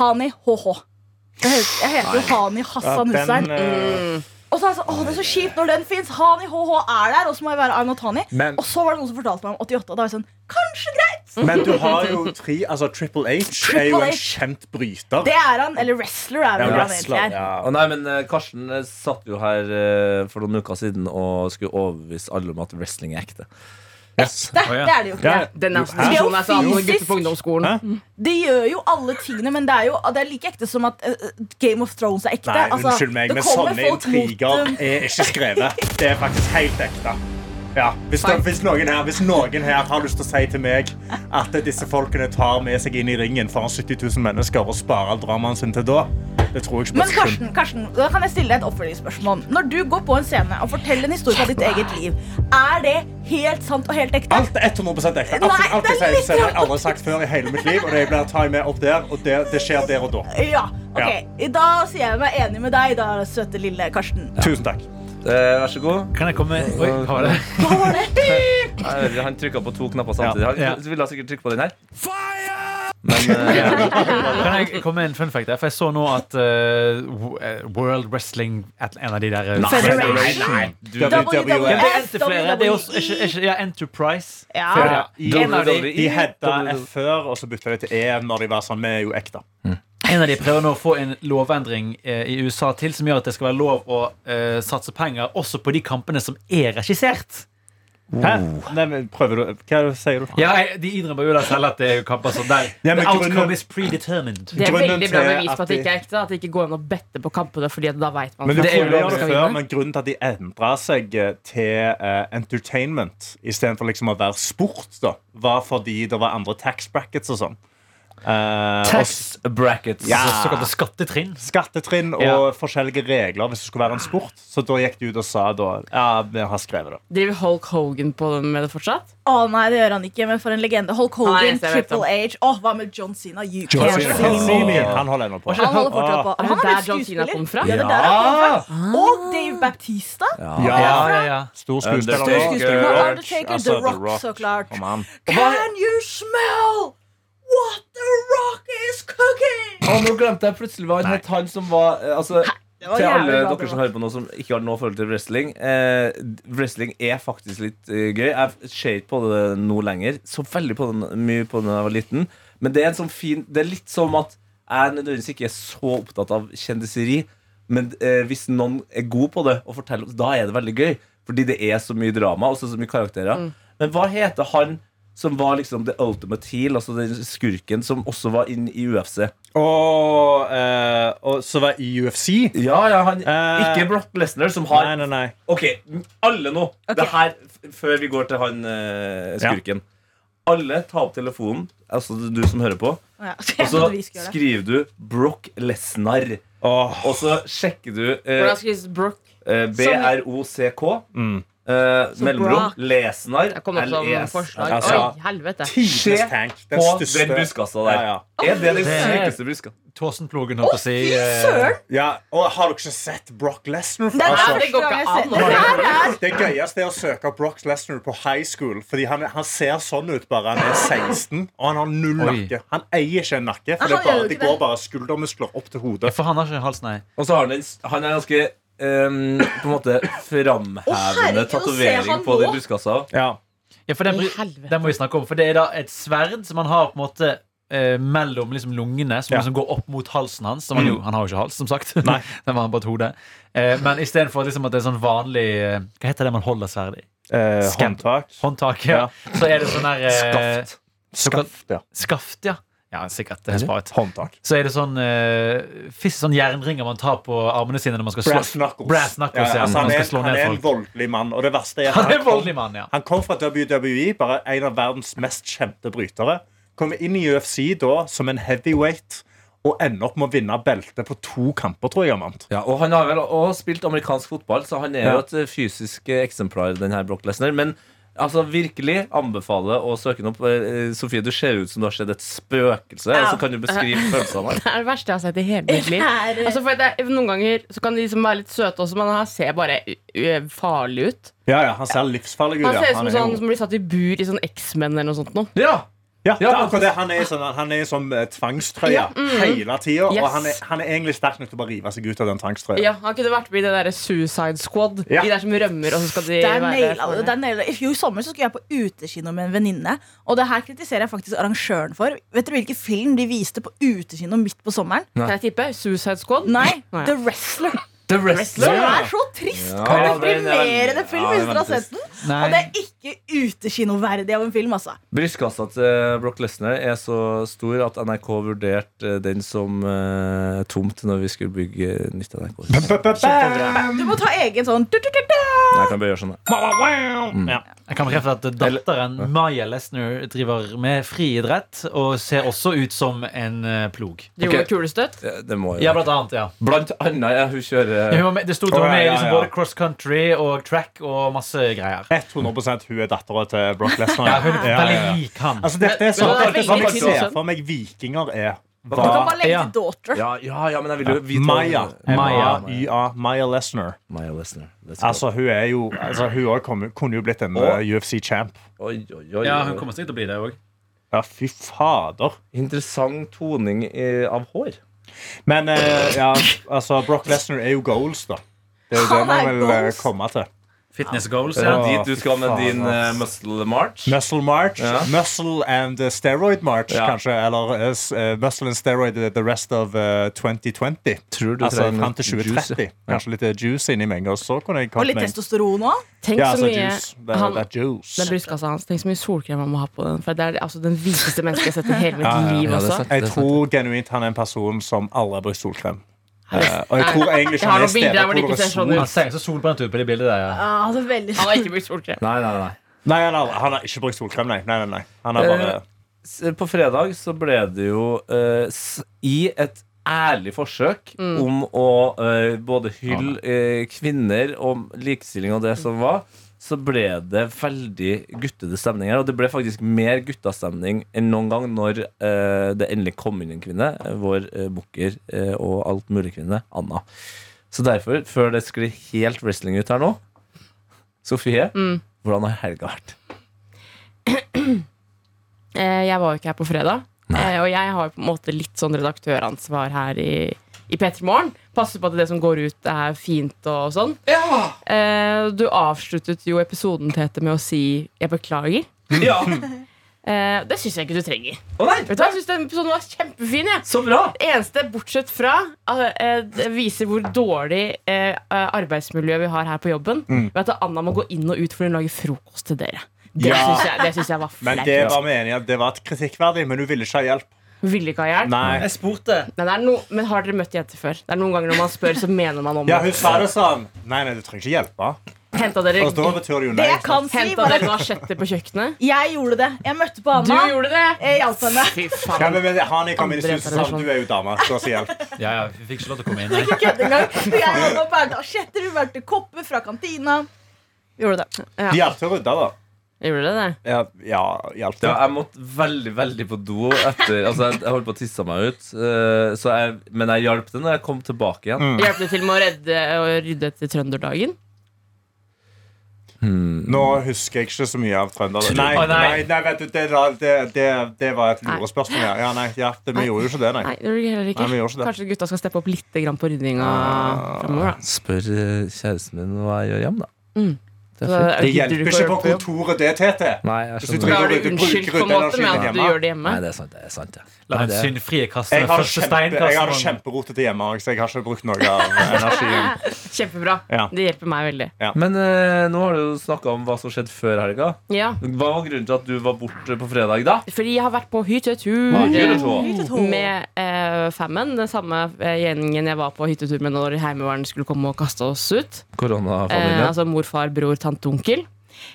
Speaker 8: Hani HH. Jeg heter, jeg heter jo Hani
Speaker 6: Ja,
Speaker 8: Hassan
Speaker 6: den,
Speaker 8: Hussein.
Speaker 6: eh,
Speaker 8: Og så er jeg sånn, åh, det er så kjipt når den fins. Hani HH er der, og så må jeg være I'm not Hani.
Speaker 6: Men-
Speaker 8: Og så var det noen som fortalte meg om 88, og da var jeg sånn, kanskje greit.
Speaker 6: Men du har jo tre Altså, Triple H er jo
Speaker 8: Triple
Speaker 6: en
Speaker 8: H.
Speaker 6: kjent bryter.
Speaker 8: Det er han, eller wrestler er vel
Speaker 6: Ja,
Speaker 8: han
Speaker 6: wrestler,
Speaker 8: egentlig er.
Speaker 3: Ja. Og nei, men eh, Karsten eh, satt jo her eh, for noen uker siden og skulle overbevise alle om at wrestling er ekte.
Speaker 8: Det,
Speaker 2: Å, ja.
Speaker 8: det er det jo ikke.
Speaker 6: Ja.
Speaker 5: Den er
Speaker 8: Hæ?
Speaker 5: sånn jeg sa om noen gutter
Speaker 8: Fysisk?
Speaker 5: på ungdomsskolen.
Speaker 8: Det gjør jo alle tingene, men det er jo det er like ekte som at eh, Game of Thrones er ekte.
Speaker 6: Nei,
Speaker 8: Altså,
Speaker 6: unnskyld meg,
Speaker 8: det
Speaker 6: men
Speaker 8: kommer
Speaker 6: sånne
Speaker 8: folk mot
Speaker 6: intriger
Speaker 8: dem.
Speaker 6: er ikke skrevet. Det er faktisk helt ekte. Ja, hvis, det, hvis, noen her, hvis noen her har lyst til å si til meg at disse folkene tar med seg inn i ringen foran 70 000 mennesker og sparer dramaen sin til da, det tror jeg ikke på
Speaker 8: Men
Speaker 6: et sekund.
Speaker 8: Karsten, Karsten, da kan jeg stille deg et oppfølgingsspørsmål. Når du går på en scene og forteller en historie fra ditt eget liv, er det helt sant og helt ekte?
Speaker 6: Alt er 100 ekte.
Speaker 8: Nei,
Speaker 6: Alt, alt
Speaker 8: det
Speaker 6: jeg
Speaker 8: er
Speaker 6: sier,
Speaker 8: litt
Speaker 6: selv har jeg
Speaker 8: rart.
Speaker 6: aldri sagt før i hele mitt liv, og det blir tatt med opp der, og det, det skjer der og da.
Speaker 8: Ja. ok. Da sier jeg meg enig med deg, da, søte lille Karsten.
Speaker 6: Tusen takk.
Speaker 3: Eh, vær så god.
Speaker 2: Kan jeg komme Oi, hva var det?
Speaker 8: Hva var det?
Speaker 3: Nei, Han trykka på to knapper samtidig. Han
Speaker 2: Ja.
Speaker 3: ville sikkert trykke på den her. Men eh,
Speaker 2: Kan jeg komme med en fun fact? der? For jeg så nå at eh, Wo- eh, World Wrestling et- En av de der eh,
Speaker 8: Federation.
Speaker 3: du,
Speaker 2: Ja, det er
Speaker 8: WWF,
Speaker 2: enten flere. Det er også ikke, ikke, ja, Enterprise.
Speaker 8: Ja.
Speaker 2: Før, ja. En av de,
Speaker 6: De hadde F før, og så bytta de til E når de var sånn Vi er jo ekte.
Speaker 2: en av de prøver nå å få en lovendring eh, i USA til som gjør at det skal være lov å eh, satse penger også på de kampene som er regissert.
Speaker 6: Hæ? Nei, men prøver du Hva er det- sier du?
Speaker 2: Ja, jeg- De innrømmer jo da selv at det er kamper som der.
Speaker 6: Ja, men
Speaker 2: The outcome
Speaker 6: grunnen-
Speaker 2: is predetermined.
Speaker 5: Det er
Speaker 6: Grunnen
Speaker 5: veldig bra
Speaker 6: til
Speaker 5: bevis
Speaker 6: at
Speaker 5: på at det
Speaker 6: de-
Speaker 5: ikke er ekte. At det ikke går an å bette på kampene, fordi at da vet man
Speaker 6: Men du
Speaker 5: at
Speaker 6: prøvde å
Speaker 5: man
Speaker 6: gjøre
Speaker 5: skal
Speaker 6: det før,
Speaker 5: vinne.
Speaker 6: men grunnen til at de endra seg eh, til eh, entertainment istedenfor liksom å være sport, da, var fordi det var andre tax brackets og sånn. Eh, og
Speaker 3: Tax brackets.
Speaker 6: Ja.
Speaker 2: Så- Såkalte skattetrinn.
Speaker 6: skattetrinn og forskjellige regler hvis det skulle være en sport. Så da gikk de ut og sa da Ja, vi har skrevet det.
Speaker 5: Driver Hulk Hogan på det med det fortsatt?
Speaker 8: Å nei, det gjør han ikke, men for en legende. Hulk
Speaker 5: Nei,
Speaker 8: Hogan,
Speaker 5: jeg vet
Speaker 8: Triple H. Åh, hva med John Cena? You
Speaker 6: John
Speaker 8: can't
Speaker 6: Cena.
Speaker 8: see me.
Speaker 6: Han holder ennå på.
Speaker 8: Han holder fortsatt på.
Speaker 5: Er
Speaker 8: Han
Speaker 5: det
Speaker 8: er
Speaker 5: der
Speaker 8: blitt
Speaker 5: John Cena
Speaker 8: skuespiller.
Speaker 5: kom fra? Ah.
Speaker 8: Ja, det er der han kom fra. Og Dave Baptista.
Speaker 2: Ja, ja, ja.
Speaker 6: Stor skuespiller.
Speaker 8: Stor skuespiller.
Speaker 6: Rock,
Speaker 8: Og Undertaker,
Speaker 6: altså,
Speaker 8: The Rock, så klart.
Speaker 6: Kom an.
Speaker 8: Can you smell what The Rock is cooking?
Speaker 3: Og nå glemte jeg plutselig hva han het, han som var eh, altså,
Speaker 8: Det var
Speaker 3: Til alle
Speaker 8: jævlig bra,
Speaker 3: dere
Speaker 8: det
Speaker 3: som
Speaker 8: var.
Speaker 3: hører på nå som ikke har noe forhold til wrestling. Eh, wrestling er faktisk litt eh, gøy. Jeg ser ikke på det nå lenger. Så veldig på det, mye på det da jeg var liten. Men det er, en sånn fin, det er litt som at jeg nødvendigvis ikke er så opptatt av kjendiseri. Men eh, hvis noen er god på det, og forteller, da er det veldig gøy. Fordi det er så mye drama og så så mye karakterer. Men hva heter han som var liksom the ultimate heel, altså den skurken som også var inn i UFC?
Speaker 6: Og, eh, og så var i UFC.
Speaker 3: Ja, ja, han,
Speaker 6: Eh,
Speaker 3: Ikke Brock Lesnar, som har
Speaker 6: Nei, nei, nei.
Speaker 3: Ok, alle nå. Det her, f- før vi går til han eh, skurken. Alle ta opp telefonen, altså du som hører på,
Speaker 8: Ja, *laughs*
Speaker 3: og så
Speaker 8: vi skal gjøre det.
Speaker 3: skriver du Brock Lesnar.
Speaker 6: Åh,
Speaker 3: Og så sjekker du eh,
Speaker 5: Hvordan skrives Brock?
Speaker 3: eh, B-R-O-C-K.
Speaker 6: Mm.
Speaker 3: Eh, mellomrom.
Speaker 5: Brock.
Speaker 3: Lesnar.
Speaker 5: Jeg kom opp som
Speaker 6: E
Speaker 5: forslag.
Speaker 3: Altså,
Speaker 5: Oi, helvete.
Speaker 6: Tidenes
Speaker 3: Se
Speaker 6: tank. Den
Speaker 3: På
Speaker 6: største.
Speaker 3: den buskassa der.
Speaker 6: Ja, ja.
Speaker 3: Er det den
Speaker 2: Det er-
Speaker 3: sykeste buska?
Speaker 2: Tåsenplogen, holdt på å si. eh,
Speaker 8: Søren!
Speaker 6: ja. Og har dere ikke sett Brock Lesnar?
Speaker 8: Det er
Speaker 5: Altså,
Speaker 8: første
Speaker 5: det går ikke
Speaker 8: gang jeg ser
Speaker 5: an.
Speaker 8: det. her er
Speaker 6: Det gøyeste er å søke Brock Lesnar på high school. Fordi han, han ser sånn ut bare han er 16, og han har null
Speaker 2: Oi.
Speaker 6: nakke. Han eier ikke en nakke,
Speaker 8: Han
Speaker 6: for det, er
Speaker 8: gjør
Speaker 6: bare,
Speaker 8: jo
Speaker 6: det
Speaker 8: ikke
Speaker 6: går
Speaker 8: det.
Speaker 6: bare skuldermuskler opp til
Speaker 2: Ja,
Speaker 6: hodet.
Speaker 2: for han har ikke hals, nei.
Speaker 3: Og så har han en, s- han er ganske eh, på en måte framhevende
Speaker 8: herregud, se
Speaker 3: tatovering
Speaker 8: han
Speaker 3: på
Speaker 8: nå.
Speaker 3: den buskassa.
Speaker 6: Ja.
Speaker 2: Ja, for den,
Speaker 5: I
Speaker 2: bry-
Speaker 5: helvete.
Speaker 2: den må vi snakke om. For det er da et sverd som han har på en måte eh, mellom liksom lungene, som
Speaker 6: Ja. Mm.
Speaker 2: liksom går opp mot halsen hans. Som han, jo, han har jo ikke hals, som sagt. *laughs* den var han på et hode. Eh, men istedenfor liksom at det er sånn vanlig eh, Hva heter det man holder sverd i?
Speaker 6: Eh,
Speaker 2: Skaft. Håndtak, ja. Så er det sånn der eh,
Speaker 3: Skaft.
Speaker 2: såkalt-
Speaker 6: Skaft, ja.
Speaker 2: Skaft, ja. Ja, sikkert. Det er bra ut.
Speaker 6: Håndtak.
Speaker 2: Så er det sånn eh, fisk, sånn jernringer man tar på armene sine når man skal slå.
Speaker 6: Brass knuckles.
Speaker 2: Brass knuckles, ja,
Speaker 6: altså,
Speaker 2: når
Speaker 6: han,
Speaker 2: man
Speaker 6: er,
Speaker 2: skal slå
Speaker 6: han
Speaker 2: ned
Speaker 6: er en
Speaker 2: folk.
Speaker 6: voldelig mann, og det verste er at
Speaker 2: Han er en
Speaker 6: kom-
Speaker 2: voldelig mann, ja.
Speaker 6: han kom fra WWE, bare en av verdens mest kjente brytere. Kommer inn i UFC da som en heavyweight og ender opp med å vinne beltet på to kamper, tror jeg. han vant.
Speaker 3: Ja, og Han har vel også spilt amerikansk fotball, så han er
Speaker 6: Ja.
Speaker 3: jo et eh, fysisk eh, eksemplar. Den her Brock Lesnar Men altså, virkelig anbefaler å søke den opp. Eh, eh, Sofie, du ser ut som du har sett et spøkelse. Så kan du beskrive følelsene her.
Speaker 5: Det er det verste jeg har sett i hele mitt liv.
Speaker 8: her, eh,
Speaker 5: Altså, for det, er- noen ganger så kan de liksom være litt søte også, men han ser bare ø, farlig ut.
Speaker 6: Ja, ja, Han ser livsfarlig ut.
Speaker 5: Han
Speaker 6: ja.
Speaker 5: ser ut som
Speaker 6: er
Speaker 5: sånn
Speaker 6: jo-
Speaker 5: som blir satt i bur i sånn X-Men eller noe sånt noe.
Speaker 3: Ja,
Speaker 6: Ja, det er
Speaker 3: Ja.
Speaker 6: akkurat det. Han er i sånn, han er i sånn eh, tvangstrøye hele tida. Og
Speaker 5: mm. Yes.
Speaker 6: han er, han er egentlig sterk nok til å bare rive seg ut av den tvangstrøya.
Speaker 5: Ja, Han kunne vært med i det derre Suicide Squad.
Speaker 6: Ja.
Speaker 5: De der som rømmer, og så skal de
Speaker 8: Der
Speaker 5: være
Speaker 8: naila du. Der naila. du. I fjor sommer så skulle jeg på utekino med en venninne. Og det her kritiserer jeg faktisk arrangøren for. Vet dere hvilken film de viste på utekino midt på sommeren?
Speaker 5: Kan jeg tippe? Suicide Squad?
Speaker 8: Nei,
Speaker 5: *laughs* Nei.
Speaker 8: The Wrestler.
Speaker 3: The
Speaker 8: Som
Speaker 3: Wrestler.
Speaker 8: er så trist! Kan
Speaker 3: Ja,
Speaker 8: du
Speaker 3: den er-
Speaker 8: primere film
Speaker 3: ja,
Speaker 8: hvis
Speaker 3: den er
Speaker 8: dere har
Speaker 3: trist.
Speaker 8: sett den?
Speaker 2: Nei.
Speaker 8: Og det er ikke utekinoverdig av en film, altså.
Speaker 3: Brystkassa til Brock Lesnar er så stor at NRK vurderte eh, den som eh, tomt når vi skulle bygge nytt NRK. Jeg
Speaker 8: Du må ta egen sånn du-du-du-du.
Speaker 3: kan bare gjøre sånn. da.
Speaker 6: Ja.
Speaker 2: Jeg kan bekrefte at datteren Maya Lesnar driver med friidrett og ser også ut som en eh, plog.
Speaker 5: De
Speaker 3: Ok.
Speaker 5: gjorde kulestøtt?
Speaker 3: Ja, Det må
Speaker 2: Ja,
Speaker 3: jo
Speaker 2: blant annet, ja.
Speaker 3: Blant annet, ja, hun kjører
Speaker 2: Hun var med, det sto til hun
Speaker 6: Å,
Speaker 2: var med i
Speaker 6: ja, ja,
Speaker 2: liksom
Speaker 6: ja.
Speaker 2: både cross country og track og masse greier.
Speaker 6: 100 hun er dattera til Brock Lesnar.
Speaker 2: Ja, hun er
Speaker 6: Ja, ja,
Speaker 2: veldig
Speaker 6: ja.
Speaker 2: lik han.
Speaker 6: Altså, dette er sånn,
Speaker 5: Men- men
Speaker 6: dette er sånn
Speaker 5: det er
Speaker 6: jeg
Speaker 5: veldig
Speaker 6: ser
Speaker 5: sånn.
Speaker 6: for meg vikinger er.
Speaker 8: Du kan
Speaker 6: Hva
Speaker 8: bare legge
Speaker 2: Ja.
Speaker 8: til daughter.
Speaker 3: Ja, ja, ja, men jeg vil jo vite
Speaker 6: Maya. Maya.
Speaker 2: Maya.
Speaker 6: YA. Maya Lesnar.
Speaker 3: Maya Lesnar. Let's go.
Speaker 6: Altså, hun er jo altså, Hun også kom, kunne jo blitt en
Speaker 3: Og-
Speaker 6: eh, UFC-champ.
Speaker 3: Oi, oi, oi, oi.
Speaker 2: Ja, hun kommer sikkert til å bli det òg.
Speaker 6: Ja, fy fader.
Speaker 3: Interessant toning eh, av hår.
Speaker 6: Men eh, ja, altså, Brock Lesnar er jo goals, da. Det er jo det
Speaker 8: Han er
Speaker 6: man vil eh,
Speaker 8: goals.
Speaker 6: komme til.
Speaker 2: Fitness goals.
Speaker 3: Er
Speaker 2: Ja.
Speaker 3: det dit du skal med
Speaker 6: faen,
Speaker 3: din eh,
Speaker 6: ass.
Speaker 3: muscle march?
Speaker 6: Muscle march.
Speaker 3: Ja.
Speaker 6: Muscle and eh, steroid march,
Speaker 3: Ja.
Speaker 6: kanskje. Eller eh, s- eh, muscle and steroid eh, the rest of eh, 2020.
Speaker 3: Tror du
Speaker 6: Altså
Speaker 3: trenger
Speaker 6: fram til
Speaker 3: juice,
Speaker 6: 2030. Kanskje litt eh, juice inni meg. Og så kunne jeg
Speaker 8: Og
Speaker 6: kommet
Speaker 8: litt
Speaker 6: med en-
Speaker 8: testosteron òg.
Speaker 5: Tenk
Speaker 6: Ja,
Speaker 5: så
Speaker 6: altså
Speaker 5: mye
Speaker 6: juice. Det er,
Speaker 5: han,
Speaker 6: det er juice.
Speaker 5: Den brystkassa hans. Tenk så mye solkrem han må ha på den. For det er altså den hviteste mennesket jeg har sett i hele mitt
Speaker 6: Ja, ja, ja,
Speaker 3: Ja,
Speaker 5: liv
Speaker 3: det er
Speaker 5: også.
Speaker 3: sant, det
Speaker 6: Jeg
Speaker 3: er sant.
Speaker 6: tror genuint han er en person som aldri har brukt solkrem. Eh, og jeg tror egentlig
Speaker 5: Jeg
Speaker 6: ikke
Speaker 5: har
Speaker 6: han er
Speaker 5: noen bilder
Speaker 6: stedet
Speaker 5: der hvor det ikke
Speaker 6: hvor det er
Speaker 5: ser sånn
Speaker 6: sol.
Speaker 5: ut.
Speaker 2: Han ser så solbrent ut på det bildet der. Ja.
Speaker 8: Ja, altså, veldig
Speaker 5: Han har ikke brukt solkrem.
Speaker 3: Nei, nei, nei.
Speaker 5: Eh,
Speaker 6: Nei, han har, han har ikke brukt solkrem, nei. nei, nei, nei. Han har bare
Speaker 3: s- på fredag så ble det jo eh, s- i et ærlig forsøk om å eh, både hylle eh, kvinner og likestilling og det som var, så ble det veldig guttete stemning her. Og det ble faktisk mer guttastemning enn noen gang når eh, det endelig kom inn en kvinne. eh, Vår eh, booker eh, og alt mulig kvinne, Anna. Så derfor, før det sklir helt wrestling ut her nå Sofie, hvordan har helga vært?
Speaker 5: Eh, Jeg var jo ikke her på fredag. Eh, Og jeg har jo på en måte litt sånn redaktøransvar her i, i P3 Morgen. Passer på at det som går ut, er fint og sånn. Eh, Du avsluttet jo episoden, Tete, med å si 'jeg beklager'.
Speaker 3: Ja,
Speaker 5: *laughs* Eh, Det syns jeg ikke du trenger.
Speaker 3: Å nei,
Speaker 5: Vet du hva, Jeg syns den episoden var kjempefin. jeg
Speaker 3: Så bra!
Speaker 5: Det eneste, bortsett fra, eh, eh, det viser hvor dårlig eh, eh, arbeidsmiljø vi har her på jobben.
Speaker 6: Mm.
Speaker 5: Ved at Anna må gå inn og ut fordi hun lager frokost til dere. Det
Speaker 6: Ja.
Speaker 5: syns jeg, det syns jeg var
Speaker 6: Men det
Speaker 5: flaut.
Speaker 6: var meningen, det var et kritikkverdig, men hun ville ikke ha hjelp.
Speaker 5: Ville ikke ha hjelp.
Speaker 6: Nei.
Speaker 2: Jeg spurte.
Speaker 5: Men, det er no, men har dere møtt jenter før? Det er Noen ganger når man spør, så mener man om
Speaker 6: Ja,
Speaker 5: det.
Speaker 6: hun sa det sånn. Nei, nei, du trenger ikke hjelpe.
Speaker 5: Henta dere,
Speaker 6: Og da betyr Altså, det jo
Speaker 8: Det
Speaker 6: nei.
Speaker 8: jeg
Speaker 6: sant?
Speaker 8: kan si,
Speaker 5: henta
Speaker 8: var
Speaker 5: dere
Speaker 8: at
Speaker 5: machetter på kjøkkenet?
Speaker 8: jeg gjorde det. Jeg møtte på
Speaker 5: Du
Speaker 8: Anna.
Speaker 5: gjorde det!
Speaker 8: Jeg hjalp
Speaker 5: *laughs*
Speaker 8: henne.
Speaker 5: Fy
Speaker 6: Ja,
Speaker 5: faen.
Speaker 6: men, men han jeg kom inn i
Speaker 5: Andre
Speaker 6: studio, sa han,
Speaker 5: tradisjon.
Speaker 6: du er jo dame. Du har så hjelp.
Speaker 2: Ja, ja, vi fikk ikke lov til å komme inn. Nei.
Speaker 8: Ikke kødd engang. Jeg hadde bært asjetter, hun bærte kopper fra kantina. Gjorde det.
Speaker 5: Ja.
Speaker 6: De hjalp til å rydde, da.
Speaker 5: Gjorde dere det?
Speaker 6: Ja, ja hjalp
Speaker 3: Ja,
Speaker 6: til.
Speaker 3: jeg måtte veldig, veldig på do etter Altså, jeg, jeg holdt på å tisse meg ut, eh, så jeg, men jeg hjalp det når jeg kom tilbake igjen.
Speaker 5: Hjalp det til med å redde og rydde etter trønderdagen?
Speaker 6: Nå husker jeg ikke så mye av trønder. Nei,
Speaker 2: Å,
Speaker 6: nei,
Speaker 2: nei.
Speaker 6: nei, vet du, det, var- det, det, det var et lurespørsmål. Ja, ja nei, ja, det,
Speaker 5: Nei.
Speaker 6: vi gjorde jo ikke det, nei.
Speaker 5: Nei, det gjorde dere heller
Speaker 6: Nei, vi gjorde ikke
Speaker 5: ikke.
Speaker 6: det. Ah.
Speaker 5: Kanskje gutta skal steppe opp litt grann på ryddinga framover, da.
Speaker 3: Spør eh, kjæresten min hva jeg gjør hjem, da.
Speaker 5: Mm.
Speaker 3: Det er
Speaker 5: Så
Speaker 3: fint.
Speaker 5: da
Speaker 6: Det
Speaker 5: gidder du
Speaker 6: hjelper ikke på
Speaker 5: å gå jobb.
Speaker 6: kontoret det, Tete.
Speaker 3: Nei, jeg
Speaker 6: Hvis du
Speaker 3: skjønner.
Speaker 5: Da er
Speaker 6: går
Speaker 5: du
Speaker 6: ut og
Speaker 5: unnskyldt på
Speaker 6: bruker
Speaker 5: en
Speaker 6: ut
Speaker 5: måte med
Speaker 6: energien
Speaker 5: at du
Speaker 6: hjemme.
Speaker 5: gjør det
Speaker 3: Nei,
Speaker 5: hjemme.
Speaker 3: det er sant, det er sant, ja.
Speaker 2: La den
Speaker 3: det er-
Speaker 2: syndfrie kaste
Speaker 6: Jeg
Speaker 2: den
Speaker 6: har
Speaker 2: første stein.
Speaker 6: kjempe, jeg har
Speaker 2: Karsten.
Speaker 6: kjemperotete hjemme, så jeg har ikke brukt noe av energien.
Speaker 5: Kjempebra.
Speaker 6: Ja.
Speaker 5: Det hjelper meg veldig.
Speaker 3: Men eh, nå har du jo snakka om hva som skjedde før helga.
Speaker 5: Ja.
Speaker 3: Hva var grunnen til at du var borte på fredag, da?
Speaker 5: Fordi jeg har vært på
Speaker 3: Hva gjør du
Speaker 5: hyttetur.
Speaker 3: så?
Speaker 5: med eh, Fammen, den samme eh, gjengen jeg var på hyttetur med når Heimevernet skulle komme og kaste oss ut. Eh,
Speaker 3: Koronafamilien.
Speaker 5: altså mor, far, bror, tante, onkel.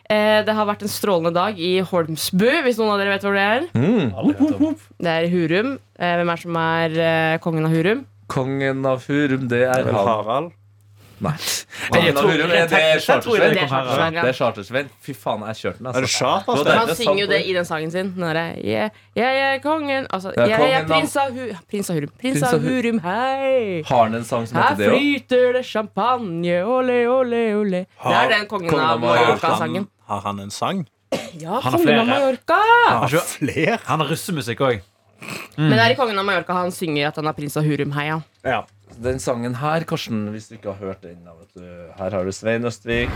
Speaker 5: Eh, det har vært en strålende dag i Holmsbu, hvis noen av dere vet hvor det er.
Speaker 3: Mm.
Speaker 5: Det er i Hurum. Eh, hvem er det som er eh, kongen av Hurum?
Speaker 3: Kongen av Hurum, det er han.
Speaker 6: Harald?
Speaker 3: Nei. Kongen av
Speaker 2: tror-
Speaker 3: Hurum, er det
Speaker 2: jeg tror- jeg tror
Speaker 5: Det
Speaker 2: det
Speaker 3: Charter-Svein?
Speaker 5: er
Speaker 2: kom her,
Speaker 5: Charter-Svein,
Speaker 3: Det
Speaker 5: ja.
Speaker 3: er Charter-Svein. Fy faen, jeg kjørte den,
Speaker 6: Er
Speaker 3: altså.
Speaker 6: det charter?
Speaker 3: Det var
Speaker 5: Han synger jo det i den sangen sin. Den derre «Jeg- Jeg er kongen Altså,
Speaker 3: Ja,
Speaker 5: jeg er
Speaker 3: kongen av-
Speaker 5: prins av, hu prins av Hurum. Prins
Speaker 3: Prins av
Speaker 5: av
Speaker 3: Hu-
Speaker 5: Hurum, hei!
Speaker 3: Har han en sang som
Speaker 5: Her
Speaker 3: heter det òg?
Speaker 5: flyter det champagne, ole, ole, ole. Det er den kongen
Speaker 3: Kongen av
Speaker 5: av Mallorca-sangen.
Speaker 6: Har han en sang?
Speaker 5: Ja,
Speaker 2: Han har
Speaker 5: kongen av
Speaker 2: flere.
Speaker 5: Mallorca!
Speaker 6: Har han flere?
Speaker 2: Han har russemusikk òg.
Speaker 5: Men det er i Kongen av Mallorca han synger at han er prins av Hurumheia.
Speaker 6: Ja.
Speaker 3: Den sangen her, Karsten, hvis du ikke har hørt den da, vet du. Her har du Svein Østvik.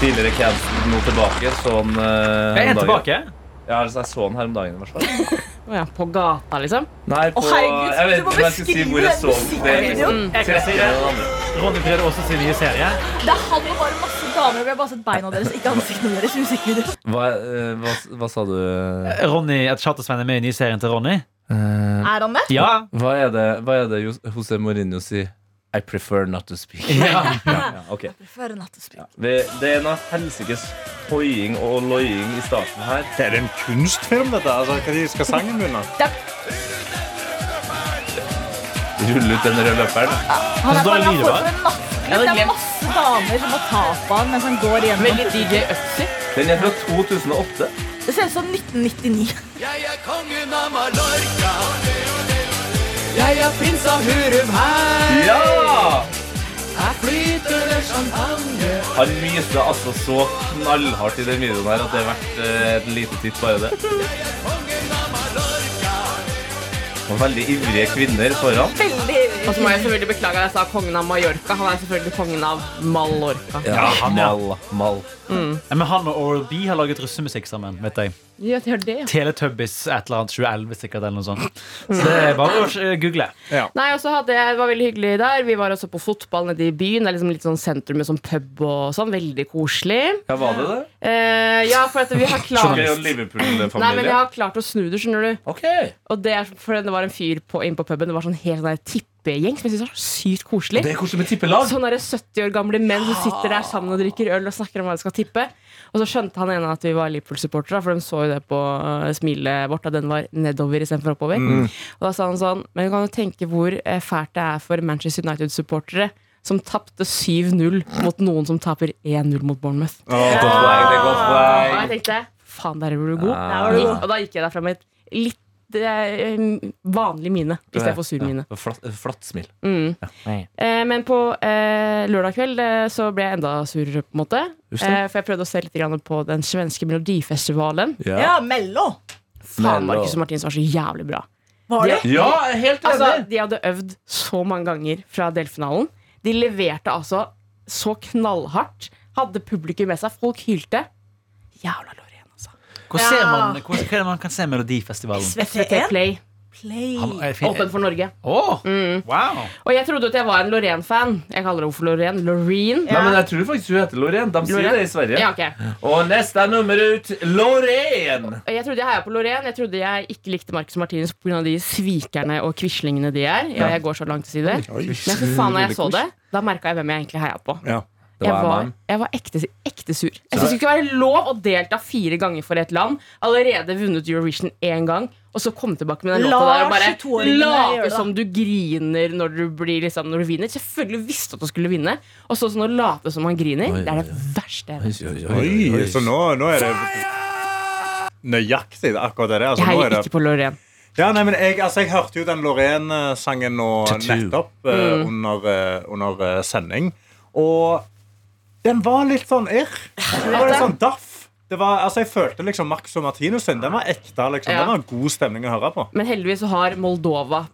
Speaker 3: Tidligere cancelled, nå tilbake. Sånn
Speaker 2: Jeg er en tilbake.
Speaker 3: Ja, altså, jeg så den her om dagen. i hvert fall.
Speaker 5: Å ja, på gata, liksom.
Speaker 3: Nei, på
Speaker 8: herregud,
Speaker 3: Jeg vet
Speaker 8: du må
Speaker 3: ikke om jeg skal si
Speaker 8: beskrive
Speaker 3: hvor jeg
Speaker 8: den
Speaker 3: så den. Det er liksom Mm.
Speaker 5: musikkvideoen.
Speaker 2: Jeg kan si det.
Speaker 3: Den andre.
Speaker 2: Ronny Brede Aase sin nye serie.
Speaker 8: Det er han og bare masse damer. Og vi har bare sett beina deres, ikke ansiktene deres. i musikkvideoen.
Speaker 3: hva, eh, hva, hva sa du?
Speaker 2: Ronny, at Charter-Svein er med i nye serien til Ronny.
Speaker 3: Eh,
Speaker 8: *laughs* Er han med?
Speaker 2: Ja.
Speaker 3: hva er det, hva er det Jos- José Mourinho sier? I prefer not to speak.
Speaker 2: Ja.
Speaker 3: *laughs* Ja, ok.
Speaker 8: Før en nattespil.
Speaker 3: Det, det er noe helsikes hoiing og loying i starten her.
Speaker 6: Det er en kunstfilm, dette. Altså, hva de skal sangen begynne?
Speaker 3: Rulle ut den røde løperen.
Speaker 8: Han
Speaker 2: Så
Speaker 8: er
Speaker 2: da
Speaker 8: bare
Speaker 2: er
Speaker 8: han
Speaker 2: livet
Speaker 8: får for en nattklubb. Det er masse damer som må ta på han mens han går gjennom.
Speaker 5: Veldig DJ Øtzy.
Speaker 3: Den er fra 2008.
Speaker 8: Det ser ut som 1999.
Speaker 5: Jeg er prins av Hurumheia!
Speaker 3: Ja! Han myser altså så knallhardt i den videoen her at det er verdt eh, et lite titt bare det. Og veldig ivrige kvinner foran.
Speaker 8: *laughs* Veldig
Speaker 5: Og så må jeg selvfølgelig beklage at jeg sa kongen av Mallorca. Han er selvfølgelig kongen av Mallorca.
Speaker 3: Ja,
Speaker 2: han, ja.
Speaker 3: mal, mal.
Speaker 2: Men han og Oral B har laget russemusikk sammen. vet jeg
Speaker 5: Ja, det er det, ja.
Speaker 2: Teletubbies et eller annet 2011 sikkert. eller noe sånt Så det er bare å eh, google.
Speaker 5: Nei, og så hadde jeg, Det var veldig hyggelig der. Vi var også på fotball nede i byen. Det er liksom litt sånn sentrum med sånn pub og sånn. Veldig koselig.
Speaker 3: Ja, var det det?
Speaker 5: Eh, ja, for at vi har klart
Speaker 3: Gøy og
Speaker 5: Nei, men vi
Speaker 3: Liverpool-familie.
Speaker 5: har klart å snu det, skjønner du.
Speaker 3: Ok.
Speaker 5: Og det er fordi det var en fyr på, inn på puben. Det var sånn helt sånn der tippegjeng som jeg synes var så sykt koselig.
Speaker 3: Det er koselig med tippelag.
Speaker 5: Sånne der 70 år gamle menn som sitter der sammen og drikker øl og snakker om hva de skal tippe. Og så skjønte han ene at vi var Liverpool-supportere, for de så jo jo det på eh, smilet vårt, at den var nedover istedenfor oppover. Og da sa han sånn Men du kan jo tenke hvor eh, fælt det er for Manchester United-supportere som tapte 7-0 mot noen som taper 1-0 mot Bournemouth. Og jeg tenkte faen, der var du god.
Speaker 3: Der var du god.
Speaker 5: Og da gikk jeg derfra med et litt eh, vanlig mine istedenfor sur mine.
Speaker 3: Flatt, flatt smil.
Speaker 5: Mm. Eh, men på eh, lørdag kveld eh, så ble jeg enda surere, på en måte.
Speaker 3: Uff da.
Speaker 5: Eh, for jeg prøvde å se litt grann på den svenske melodifestivalen.
Speaker 8: Ja, Mello!
Speaker 5: Faen, Marcus og Martinus var så jævlig bra.
Speaker 8: Var det?
Speaker 3: Ja, helt enig!
Speaker 5: Altså, de hadde øvd så mange ganger fra delfinalen. De leverte altså så knallhardt. Hadde publikum med seg. Folk hylte. Jævla Loreen, altså.
Speaker 2: Hvor ser man, hvor, hva er det man kan se Melodifestivalen?
Speaker 5: SVT
Speaker 8: SVT1
Speaker 5: Play.
Speaker 8: Play.
Speaker 2: Han er fin-
Speaker 5: Åpen for Norge.
Speaker 2: Åh,
Speaker 5: Mm.
Speaker 2: wow!
Speaker 5: Og jeg trodde jo at jeg var en Loreen-fan. Jeg kaller henne for Loreen. Loreen.
Speaker 3: Nei, men jeg tror faktisk hun heter Loreen. De sier
Speaker 5: Loreen?
Speaker 3: det i Sverige.
Speaker 5: Ja, ok.
Speaker 3: Og neste er nummer ut Loreen!
Speaker 5: Jeg trodde jeg heia på Loreen. Jeg trodde jeg ikke likte Marcus Martinus pga. de svikerne og quislingene de er. Ja, jeg går så langt til å si det. Men for faen, når jeg så det, da merka jeg hvem jeg egentlig heia på.
Speaker 3: Det
Speaker 5: Jeg
Speaker 3: var
Speaker 5: var,
Speaker 3: Emma.
Speaker 5: jeg var ekte, ekte sur. Jeg synes det skulle være lov å delta fire ganger for et land. Allerede vunnet Eurovision én gang, og så komme tilbake med den låta
Speaker 8: La
Speaker 5: der og bare
Speaker 8: 22-åringene gjøre
Speaker 5: late
Speaker 8: det.
Speaker 5: som du griner når du, blir, liksom, når du vinner. Selvfølgelig visste du at du skulle vinne, og så sånn å late som man griner.
Speaker 3: Oi,
Speaker 5: Det er
Speaker 3: oi,
Speaker 5: det verste jeg vet.
Speaker 6: Oi, så nå, nå er det nøyaktig akkurat det der.
Speaker 5: Jeg
Speaker 6: Altså, nå
Speaker 5: heier
Speaker 6: er det
Speaker 5: ikke på Loreen.
Speaker 6: Ja, nei, men jeg, altså, jeg hørte jo den Lorraine-sangen nå
Speaker 3: Tattoo.
Speaker 6: nettopp eh, under, eh, under eh, sending. Og den var litt sånn irr. Den var litt sånn daff. Det var, altså, jeg følte liksom Max og Martinus sin. Den var ekte. liksom.
Speaker 5: Ja.
Speaker 6: Den var en god stemning å høre på.
Speaker 5: Men heldigvis så har Moldova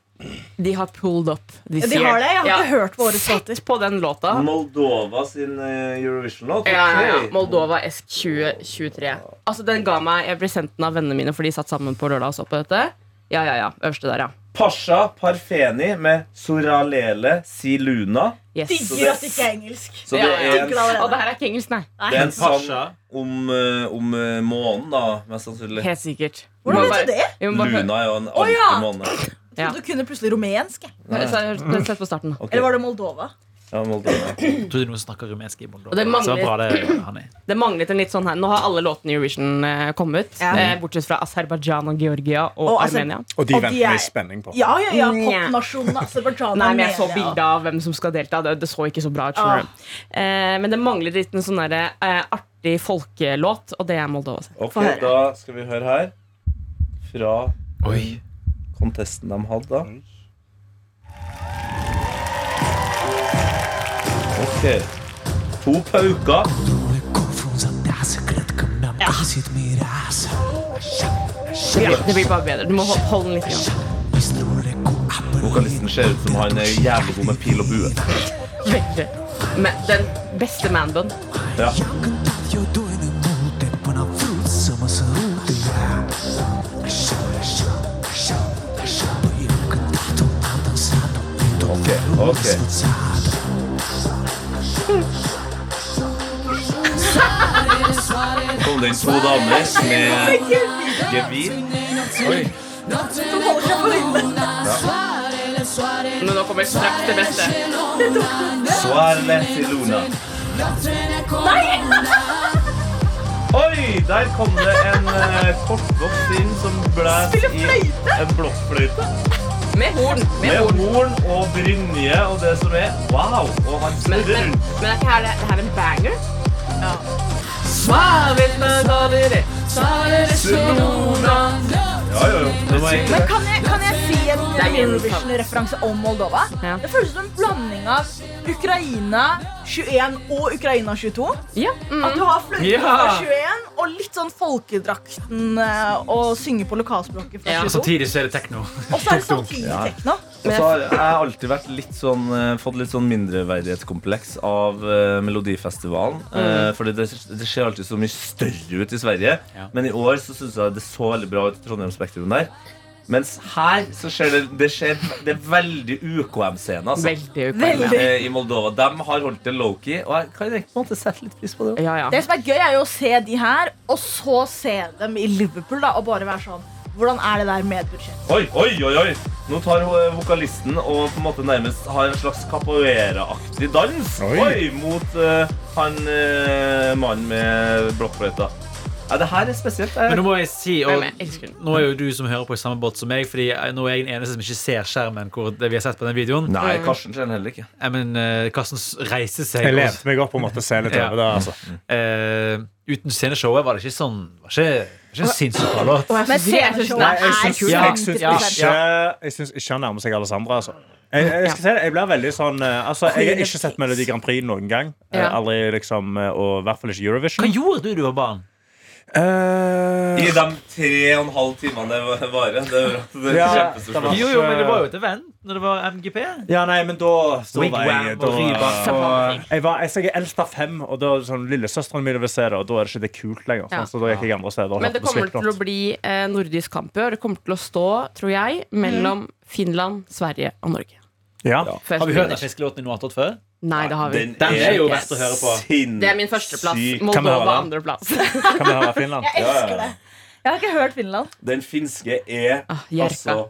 Speaker 5: De har pulled up this
Speaker 8: De
Speaker 5: year.
Speaker 8: har det. Jeg har
Speaker 5: Ja.
Speaker 8: ikke hørt på årets låter.
Speaker 5: Sett på den låta.
Speaker 8: Ah.
Speaker 3: Moldova sin eh, Eurovision-låt.
Speaker 5: Ja, ja, ja. Moldova Esk 2023. Altså, den ga meg Jeg ble sendt den av vennene mine, for de satt sammen på lørdag og så på dette. Ja, ja, ja. Øverste der, ja.
Speaker 3: Pasha Parfeni med Soralele Siluna.
Speaker 5: Yes.
Speaker 8: Digger at det ikke er engelsk.
Speaker 3: Så det
Speaker 5: Ja, ja.
Speaker 3: er en,
Speaker 8: Digger det
Speaker 5: Og det
Speaker 8: allerede.
Speaker 5: her er ikke engelsk, nei.
Speaker 3: det er en sang
Speaker 2: Pasha.
Speaker 3: om, eh, om eh, månen, da, mest sannsynlig.
Speaker 5: Helt sikkert.
Speaker 8: Hvordan vet du det?
Speaker 5: Vi må bare-
Speaker 3: Luna er jo en
Speaker 8: Å,
Speaker 3: ordentlig
Speaker 8: ja.
Speaker 3: måne.
Speaker 5: Ja.
Speaker 8: Du kunne plutselig rumensk. jeg.
Speaker 5: Bare se- Sett på starten.
Speaker 3: Ok,
Speaker 8: Eller var det Moldova?
Speaker 3: ja, Moldova.
Speaker 2: Jeg trodde noen snakka rumensk i Moldova.
Speaker 5: Og det mangler-
Speaker 2: Så bra det han er.
Speaker 5: Det manglet en litt sånn her. Nå har alle låtene i Eurovision eh, kommet.
Speaker 8: Ja.
Speaker 5: Eh, bortsett fra Aserbajdsjan og Georgia og,
Speaker 8: Og Aser-
Speaker 5: Armenia.
Speaker 6: Og de
Speaker 8: Og de
Speaker 6: venter
Speaker 8: er-
Speaker 6: med spenning på.
Speaker 8: Ja, ja, ja.
Speaker 5: Nja.
Speaker 8: Popnasjonen altså, Aserbajdsjan.
Speaker 5: Nei, men jeg så
Speaker 8: Armenia.
Speaker 5: bilder av hvem som skal delta. Det, det så ikke så bra ut. skjønner du. Eh, men det mangler litt en sånn derre, eh, artig folkelåt, og det er Moldova sin.
Speaker 3: Ok,
Speaker 8: Få høre.
Speaker 3: da skal vi høre her Fra Kontesten de hadde da Ok To pauker
Speaker 5: Ja, det blir bare bedre. Du må hol- holde den litt. Igjen.
Speaker 3: Vokalisten ser ut som han er jævlig god med pil og bue
Speaker 5: Veldig. Men den beste manbun.
Speaker 3: Ja, ok, ok Kom det inn to damer med gevir Oi,
Speaker 5: Men nå kommer straks det beste.
Speaker 3: Svarle Siluna Oi, der kom det en uh, kortvokst inn som blæs i en blokkfløyte.
Speaker 5: Med horn. Med
Speaker 3: Med
Speaker 5: horn.
Speaker 3: horn og brynje og det som er. Wow! Og han
Speaker 5: Men,
Speaker 3: snurrer
Speaker 5: men,
Speaker 3: rundt.
Speaker 5: men er ikke her, det det her er en banger? Ja.
Speaker 3: Ja, ja, ja. Det var egentlig
Speaker 8: Men kan jeg, kan jeg si en
Speaker 5: Det er min
Speaker 8: Eurovision-referanse om Moldova?
Speaker 5: Ja.
Speaker 8: Det føles som en blanding av Ukraina 21 og Ukraina 22.
Speaker 5: Ja, mm.
Speaker 8: At du har fløyta
Speaker 2: Ja.
Speaker 8: fra 21 og litt sånn folkedrakten eh, og synge på lokalspråket fra
Speaker 5: Ja.
Speaker 2: Og
Speaker 8: 22.
Speaker 2: Samtidig så er det tekno.
Speaker 8: Og så er det samtidig tekno.
Speaker 3: Og så har jeg alltid vært litt sånn, eh, fått litt sånn mindreverdighetskompleks av eh, Melodifestivalen. Eh, fordi det, det ser alltid så mye større ut i Sverige.
Speaker 2: Ja.
Speaker 3: Men i år så syns jeg det så veldig bra ut i Trondheim Spektrum der. Mens her så ser det, det, ser, det er veldig UKM-scene. Altså.
Speaker 5: Veldig ukvalm.
Speaker 8: Veldig.
Speaker 3: Eh, I Moldova. De har holdt det low-key, og jeg kan egentlig på en måte sette litt pris på det.
Speaker 5: Ja, ja.
Speaker 8: Det som er gøy, er jo å se de her, og så se dem i Liverpool da, og bare være sånn Hvordan er det der med budsjett?
Speaker 3: Oi, oi, oi, oi Nå tar ho- vokalisten og på en måte nærmest har en slags capoeira-aktig dans
Speaker 6: Oi.
Speaker 3: Oi, mot eh, han eh, mannen med blokkfløyta
Speaker 9: Ja, det her er spesielt.
Speaker 2: Men
Speaker 9: Jeg,
Speaker 2: nå må jeg si og
Speaker 5: Nei, men jeg elsker den.
Speaker 2: Nå er jo du som hører på i samme båt som meg, Fordi jeg- nå er jeg den eneste som ikke ser skjermen hvor det vi har sett på den videoen.
Speaker 3: Nei, Karsten ser den heller ikke.
Speaker 2: Jeg men, eh, Karsten s- reiser seg.
Speaker 6: Jeg
Speaker 2: og-
Speaker 6: lente meg opp og måtte se litt
Speaker 2: Ja.
Speaker 6: over det. Altså.
Speaker 2: Eh, uten sceneshowet var det ikke sånn Var ikke, ikke en sinnssyk bra låt.
Speaker 5: Og jeg
Speaker 8: Men
Speaker 5: synes- jeg synes-
Speaker 8: sceneshowet
Speaker 5: Nei,
Speaker 6: Jeg syns
Speaker 8: kul.
Speaker 2: Ja,
Speaker 6: jeg syns
Speaker 2: ja,
Speaker 6: ikke, jeg syns ikke han nærmer seg Alessandra. Altså. Jeg, jeg, skal si det, jeg blir veldig sånn eh, altså, Jeg har ikke sett Melodi Grand Prix noen gang. Eh,
Speaker 5: Ja.
Speaker 6: Aldri liksom, eh, Og i hvert fall ikke Eurovision.
Speaker 2: Hva gjorde du da du var barn?
Speaker 6: Eh,
Speaker 3: I de tre og en halv timene det varer. Det er bra.
Speaker 6: Ja, det
Speaker 3: kjempespørsmål.
Speaker 6: var-
Speaker 2: Jo, jo, men det var jo et event når det var MGP.
Speaker 6: ja, nei, men da, da var jeg
Speaker 2: Wigwam
Speaker 6: da,
Speaker 2: og Ryback og
Speaker 6: Jeg var jeg så jeg eldst av fem, og da sånn, lillesøsteren min vil se det, og da er det ikke det kult
Speaker 5: Ja.
Speaker 6: lenger. sant? Så da gikk jeg andre steder. og
Speaker 5: Men det
Speaker 6: hørte på
Speaker 5: kommer til å
Speaker 6: Slipknot.
Speaker 5: bli eh, nordisk kamp i år. Det kommer til å stå, tror jeg, mellom
Speaker 8: Mm.
Speaker 5: Finland, Sverige og Norge.
Speaker 6: ja.
Speaker 5: Før
Speaker 2: Har vi hørt den
Speaker 5: Sverige vinner.
Speaker 2: fiskelåten i noe annet før?
Speaker 5: Nei, det har vi.
Speaker 3: Den
Speaker 2: Den er jo verdt å
Speaker 5: Yes.
Speaker 2: høre på.
Speaker 5: Det er min førsteplass.
Speaker 3: Sinnssyk.
Speaker 6: Kan vi høre
Speaker 5: Moldova
Speaker 6: den?
Speaker 5: andreplass. *laughs*
Speaker 6: Kan vi høre Finland?
Speaker 8: Jeg
Speaker 3: Ja,
Speaker 8: elsker
Speaker 3: ja.
Speaker 8: det. Jeg har ikke hørt Finland.
Speaker 3: Den finske er
Speaker 5: Ah, Jerka.
Speaker 3: altså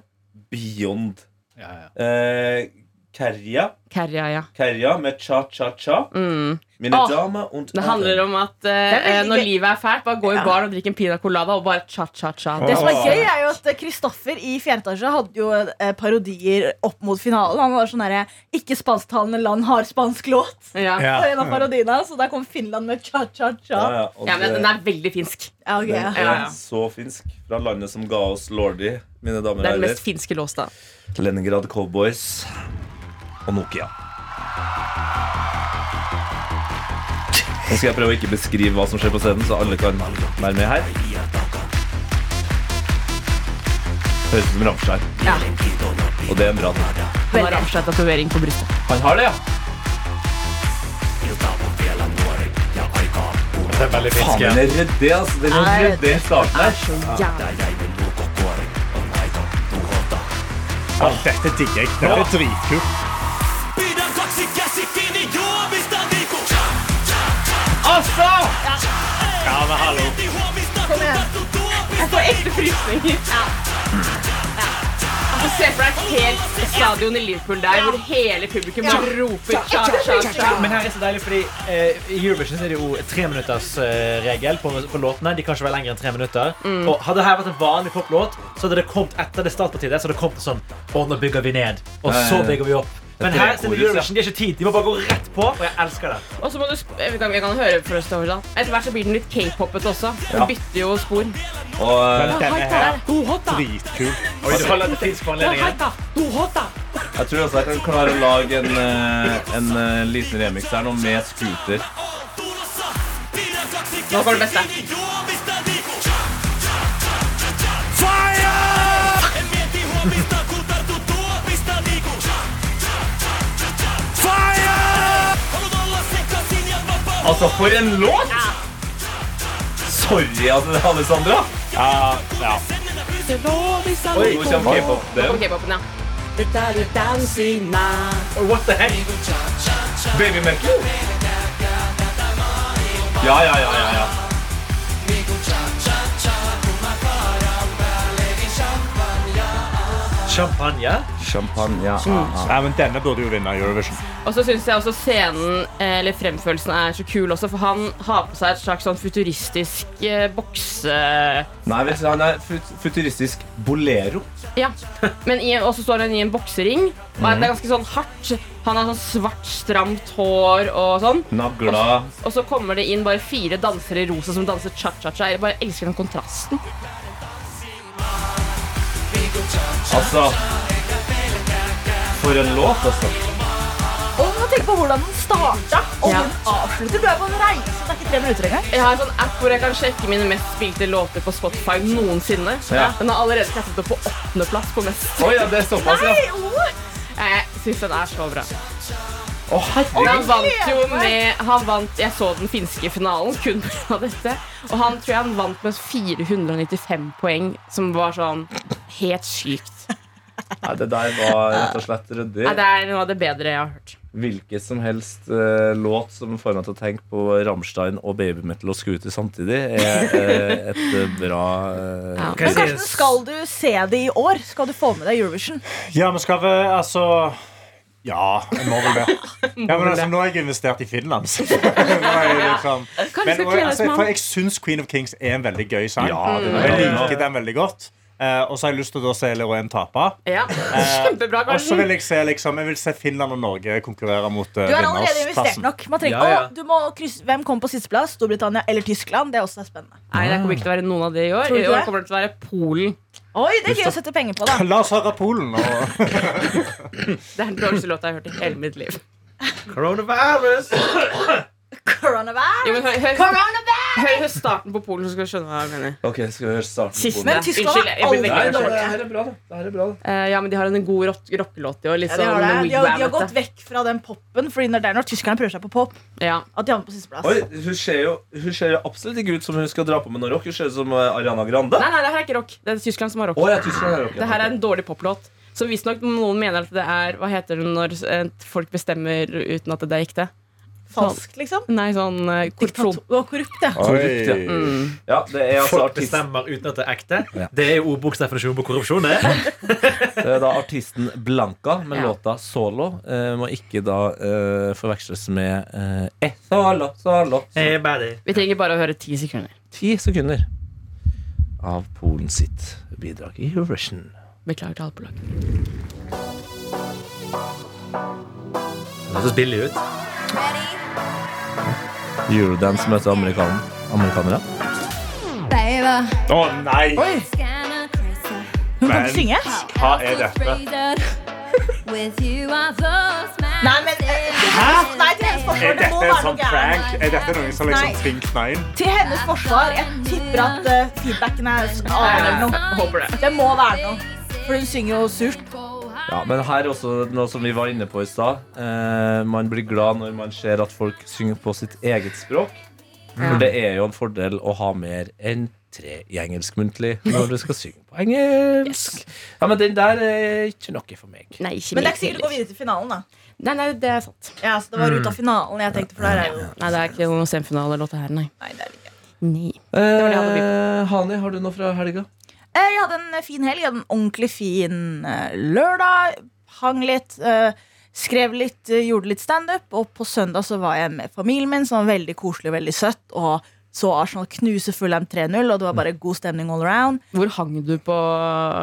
Speaker 3: beyond.
Speaker 2: Ja, ja.
Speaker 3: Eh, Kerja.
Speaker 5: Kerja, ja.
Speaker 3: Kerja med cha-cha-cha.
Speaker 5: Mm.
Speaker 3: Mine
Speaker 5: Åh,
Speaker 3: damer und
Speaker 5: Det handler om at eh,
Speaker 8: veldig
Speaker 5: når
Speaker 8: gøy.
Speaker 5: livet er fælt, bare gå i baren og drikk en pina colada og bare cha-cha-cha.
Speaker 8: Det som er
Speaker 6: Åh.
Speaker 8: gøy, er jo at Kristoffer i Fjerde etasje hadde jo eh, parodier opp mot finalen. Han var sånn herre Ikke spansktalende land har spansk låt.
Speaker 5: Ja.
Speaker 6: Ja.
Speaker 8: Og en av parodiene, så der kom Finland med cha-cha-cha.
Speaker 3: Ja, ja, og
Speaker 5: ja, men
Speaker 3: det-
Speaker 5: den er veldig finsk.
Speaker 8: Ja, ok, ja.
Speaker 3: Den
Speaker 5: Ja,
Speaker 3: er
Speaker 5: ja.
Speaker 3: så finsk. Fra landet som ga oss Lordi, mine damer
Speaker 5: Det er
Speaker 3: og
Speaker 5: den mest
Speaker 3: herrer.
Speaker 5: finske låsa.
Speaker 3: Leningrad Cowboys og Nokia. Nå skal jeg prøve å ikke beskrive hva som skjer på scenen, så alle kan være med her. Høres ut som Ramskjær.
Speaker 5: Ja.
Speaker 3: Og det er en bra ting.
Speaker 5: Han har Ramstein-tatovering på brystet.
Speaker 3: Han har det, ja.
Speaker 2: Det er veldig finsk.
Speaker 3: Faen, den er ryddig, altså. Den er ryddig i starten her.
Speaker 6: Ja, dette digger jeg. Dette er dritkult.
Speaker 3: Altså!
Speaker 6: Ja, men hallo.
Speaker 8: Kom igjen.
Speaker 5: Jeg får ekte frysninger. Ja. Altså, se for deg et helt stadion i Liverpool der hvor hele publikum bare roper cha-cha-cha.
Speaker 2: Men her er så deilig, fordi eh, I Eurovision så er det jo treminuttersregel på, på låtene. De kan ikke være lenger enn tre minutter. Og Hadde dette vært en vanlig poplåt, så hadde det kommet etter det startpartiet. Så hadde det kommet sånn Å, nå bygger vi ned. Og så bygger vi opp. Men her så er det Eurovision. De har ikke tid. De må bare gå rett på. Og jeg elsker det.
Speaker 5: Og så må du sp vi, kan, vi kan høre for oss over, da. Etter hvert så blir den litt k-popet også. Den bytter jo spor.
Speaker 3: Og eh,
Speaker 6: Denne her er
Speaker 5: Do hotta,
Speaker 6: dritkul.
Speaker 2: Oi, du holder det finsk på anledningen.
Speaker 5: haika, do hotta.
Speaker 3: jeg tror også jeg kan klare å lage en, eh, en eh, liten remix her nå med scooter.
Speaker 5: Nå går det beste.
Speaker 3: Altså, for en låt! Sorry, altså, Alessandra.
Speaker 6: Ja, ja.
Speaker 3: Oi, nå kommer
Speaker 5: Kom
Speaker 3: k-pop-delen.
Speaker 5: k-popen, ja.
Speaker 3: What the heck? Baby metal? Ja, ja, ja, ja. ja.
Speaker 2: Champagne.
Speaker 3: Champagne. Ja.
Speaker 6: Mm. Nei, men denne burde jo vinne Eurovision.
Speaker 5: Og så syns jeg også scenen, eh, eller fremførelsen, er så kul også, for han har på seg et slags sånn futuristisk eh, bokse...
Speaker 3: Nei, vet du, han er fut futuristisk bolero.
Speaker 5: Ja. Men i, og så står han i en boksering, og det er ganske sånn hardt. Han har sånn svart, stramt hår og sånn.
Speaker 3: Nagla.
Speaker 5: Og så kommer det inn bare fire dansere i rosa som danser cha-cha-cha. Jeg bare elsker den kontrasten.
Speaker 3: Altså For en låt, altså.
Speaker 8: Og du må tenke på hvordan den starta, og
Speaker 5: Ja.
Speaker 8: hvor den avslutter. Du er på en reise, det er ikke tre minutter engang.
Speaker 5: Jeg har en sånn app hvor jeg kan sjekke mine mest spilte låter på Spotify noensinne.
Speaker 3: Ja.
Speaker 5: Den har allerede klatret opp på åttendeplass på mest.
Speaker 3: Oi, ja, det er såpass, ja.
Speaker 8: Nei, oh! what?
Speaker 5: Jeg syns den er så bra.
Speaker 3: Å, herregud.
Speaker 5: Han vant jo med Han vant, jeg så den finske finalen kun *laughs* pga. dette. Og han tror jeg han vant med 495 poeng, som var sånn helt sykt.
Speaker 3: Nei, det der var rett og slett ryddig.
Speaker 5: Nei, det er noe av det bedre jeg har hørt.
Speaker 3: Hvilket som helst eh, låt som får meg til å tenke på Rammstein og babymetal og scooter samtidig, er eh, et eh, bra eh,
Speaker 5: Ja.
Speaker 8: Men Karsten, skal du se det i år? Skal du få med deg Eurovision?
Speaker 6: Ja, men skal vi altså Ja, jeg må vel det. Ja, men altså, nå har jeg investert i Finland. Så. *laughs* Nå er jeg liksom.
Speaker 5: Kanskje
Speaker 6: Men,
Speaker 5: skal
Speaker 6: og,
Speaker 5: kle deg
Speaker 6: altså,
Speaker 5: som
Speaker 6: for
Speaker 5: han.
Speaker 6: jeg syns Queen of Kings er en veldig gøy sang.
Speaker 3: det
Speaker 6: jeg liker den veldig godt. Eh, og så har jeg lyst til å da se Leroen tape.
Speaker 5: Ja. Kjempebra,
Speaker 6: Og så
Speaker 5: Karsten.
Speaker 6: Eh, vil jeg se liksom, jeg vil se Finland og Norge konkurrere mot uh,
Speaker 8: Du har allerede investert
Speaker 6: vinnersplassen.
Speaker 8: nok. Man trenger,
Speaker 2: Ja, ja.
Speaker 8: Å, du må krysse, hvem kom på sisteplass? Storbritannia eller Tyskland? Det er også spennende.
Speaker 5: Nei, det kommer ikke til å være noen av det i år.
Speaker 8: Tror du
Speaker 5: I
Speaker 8: ikke
Speaker 5: år
Speaker 8: det?
Speaker 5: kommer det til å være Polen.
Speaker 8: Oi, det er gøy å sette penger på, da.
Speaker 6: La oss høre Polen. Og...
Speaker 5: Det er den dårligste låta jeg har hørt i hele mitt liv.
Speaker 2: Coronavirus!
Speaker 8: Coronavirus!
Speaker 5: Jo, men hør, hør,
Speaker 8: Coronavirus!
Speaker 5: hør, hør starten på Polen, så skal du skjønne hva jeg mener.
Speaker 3: Ok, skal vi høre starten på
Speaker 5: Siste.
Speaker 3: den?
Speaker 8: Men Tyskland
Speaker 5: Unnskyld, jeg
Speaker 8: har
Speaker 5: blir
Speaker 8: aldri
Speaker 5: veldig
Speaker 8: dårlig.
Speaker 5: engasjert.
Speaker 3: er bra, da. Det her er bra, da.
Speaker 5: Eh, ja, men de har en god rock- rockelåt i år. Litt
Speaker 8: Ja, de,
Speaker 5: sånn
Speaker 8: har det. De, har, de har
Speaker 5: Wigwam-ete.
Speaker 8: gått vekk fra den poppen, Fordi når- det er når tyskerne prøver seg på pop,
Speaker 5: Ja.
Speaker 8: at de havner på sisteplass.
Speaker 3: Oi, hun ser jo hun ser jo absolutt ikke ut som hun skal dra på med noe rock. Hun ser ut som eh, Ariana Grande.
Speaker 5: Nei, nei, det her er ikke rock. Det er Tyskland som har rock.
Speaker 3: Å, ja, Tyskland er rock.
Speaker 5: Det her er en dårlig poplåt. Så visstnok noen mener at det er Hva heter det når eh, folk bestemmer uten at det er ekte?
Speaker 8: Falsk, liksom.
Speaker 5: Nei, sånn eh, korrupsjon.
Speaker 8: Diktator- og korrupt, ja.
Speaker 3: Korrupt, ja.
Speaker 5: Mm.
Speaker 3: Ja, det er altså
Speaker 2: Folk
Speaker 3: artist,
Speaker 2: bestemmer uten at det er ekte. Det er jo ordboksdefinisjonen på korrupsjon. det
Speaker 3: det er eh, da artisten Blanca med
Speaker 5: Ja.
Speaker 3: låta 'Solo'. Eh, må ikke da eh, forveksles med eh, eh, Solo, solo.
Speaker 2: Hey, buddy.
Speaker 5: Vi trenger bare å høre ti sekunder.
Speaker 3: Ti sekunder av Polen sitt bidrag i Eurovision.
Speaker 5: Beklager til alle på laget.
Speaker 2: Det høres billig ut.
Speaker 3: Eurodance møter amerikanen. amerikanere.
Speaker 6: Å nei!
Speaker 8: Hun kan ikke synge.
Speaker 6: Hva er dette?
Speaker 8: Nei, men Hæ? Nei, til
Speaker 6: Er
Speaker 8: hennes forsvar. Det må
Speaker 6: dette en
Speaker 8: være noe
Speaker 6: sånn
Speaker 8: gærent.
Speaker 6: prank? Er dette noen som
Speaker 8: Nei.
Speaker 6: liksom tvingt meg inn?
Speaker 8: Til hennes forsvar. Jeg tipper at eh, feedbacken er annen eller noe.
Speaker 5: Håper det.
Speaker 8: Det må være noe. For hun synger jo surt.
Speaker 3: Ja, men her er også noe som vi var inne på i stad. Eh, man blir glad når man ser at folk synger på sitt eget språk. For det er jo en fordel å ha mer enn tre i engelsk muntlig når du skal synge på engelsk. Ja, men den der er ikke noe for meg.
Speaker 5: Nei, ikke
Speaker 8: Men det er
Speaker 5: meg
Speaker 8: ikke sikkert det går
Speaker 5: heller.
Speaker 8: videre til finalen, da.
Speaker 5: Nei, nei, det er sant.
Speaker 8: Ja, så det var ut av finalen jeg tenkte, for der er jo
Speaker 5: Nei, det er ikke noen semifinalelåt her, nei.
Speaker 8: Nei, det er ikke.
Speaker 5: nei. var det jeg hadde
Speaker 3: Eh, Hani, har du noe fra helga?
Speaker 8: Eh, Jeg hadde en fin helg. Jeg hadde en ordentlig fin eh, lørdag. Hang litt. eh, Skrev litt, eh, gjorde litt standup. Og på søndag så var jeg med familien min, som var veldig koselig og veldig søtt. Og så Arsenal knuse Fulham 3-0, og det var bare god stemning all around.
Speaker 5: Hvor hang du på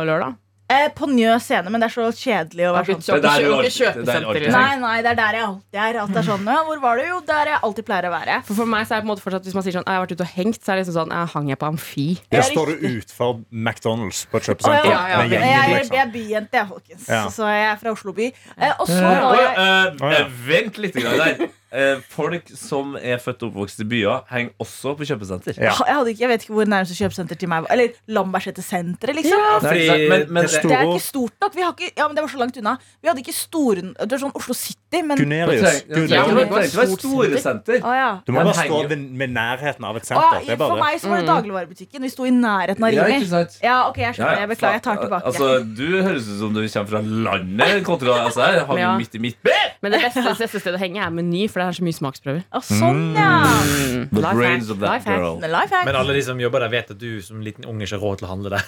Speaker 5: lørdag?
Speaker 8: Eh, På Njø scene, men det er så kjedelig å
Speaker 5: Det
Speaker 8: være
Speaker 5: var
Speaker 8: sånn
Speaker 5: ikke
Speaker 3: Det der er
Speaker 5: kjøpe-
Speaker 3: ork-
Speaker 5: ikke
Speaker 3: det der er ork-
Speaker 5: kjøpesenter. liksom.
Speaker 8: Nei, nei, det er der jeg alltid er. At det er sånn, ja, hvor var du? Jo, der jeg alltid pleier å være.
Speaker 5: For, for meg så er det på en måte fortsatt Hvis man sier sånn «Ah, Jeg har vært ute og hengt, så er det liksom sånn Jeg hang jeg på amfi.
Speaker 8: Ja,
Speaker 6: Der står du
Speaker 8: riktig.
Speaker 6: utenfor McDonald's på et
Speaker 8: Å,
Speaker 6: kjøpesenter.
Speaker 5: Sånn, ja, ja,
Speaker 6: med
Speaker 8: Jeg,
Speaker 5: men
Speaker 6: gjengen,
Speaker 8: jeg,
Speaker 6: liksom.
Speaker 8: jeg er byjente, jeg, folkens.
Speaker 6: Ja.
Speaker 8: Så jeg er fra Oslo by. Eh, Og så var jeg
Speaker 6: Å, ja.
Speaker 3: eh, vent litt grann der. Eh, folk som er født og oppvokst i byer, henger også på kjøpesenter.
Speaker 6: Ja.
Speaker 8: Jeg, hadde ikke, jeg vet ikke hvor nærmeste kjøpesenter til meg var. Eller Lambertseter senteret, liksom.
Speaker 3: Nei,
Speaker 2: Fordi-
Speaker 3: ikke sant, men, men,
Speaker 8: Det er ikke sånn- stort nok. Vi har ikke, ja, men det var så langt unna. Vi hadde ikke store Det er sånn Oslo City, men
Speaker 6: Gunerius.
Speaker 3: Det trenger
Speaker 6: Gunerius.
Speaker 3: ikke være store senter.
Speaker 8: Å ja.
Speaker 6: Du må
Speaker 3: Den
Speaker 6: bare stå
Speaker 3: henger jo.
Speaker 6: ved, med nærheten av et
Speaker 8: Å,
Speaker 6: senter. Det er
Speaker 8: for
Speaker 6: bare det.
Speaker 8: meg så var det dagligvarebutikken. Vi sto i nærheten av
Speaker 3: Ja,
Speaker 8: Rimi.
Speaker 3: ikke sant?
Speaker 8: Ja, ok, jeg skjønner. Jeg beklager. Jeg tar
Speaker 3: faen.
Speaker 8: tilbake.
Speaker 3: Altså, du høres ut som du kommer fra landet. Kontra, altså, her har vi
Speaker 5: Ja.
Speaker 3: midt i midt.
Speaker 5: Men det beste, det beste stedet å henge er Meny, for det er så mye smaksprøver.
Speaker 8: Å, sånn, ja.
Speaker 3: The
Speaker 5: Lifehack,
Speaker 3: brains of that
Speaker 5: lifehack.
Speaker 3: girl.
Speaker 8: Men life hack.
Speaker 2: Men alle de som jobber der, vet at du som liten unge ikke har råd til å handle der.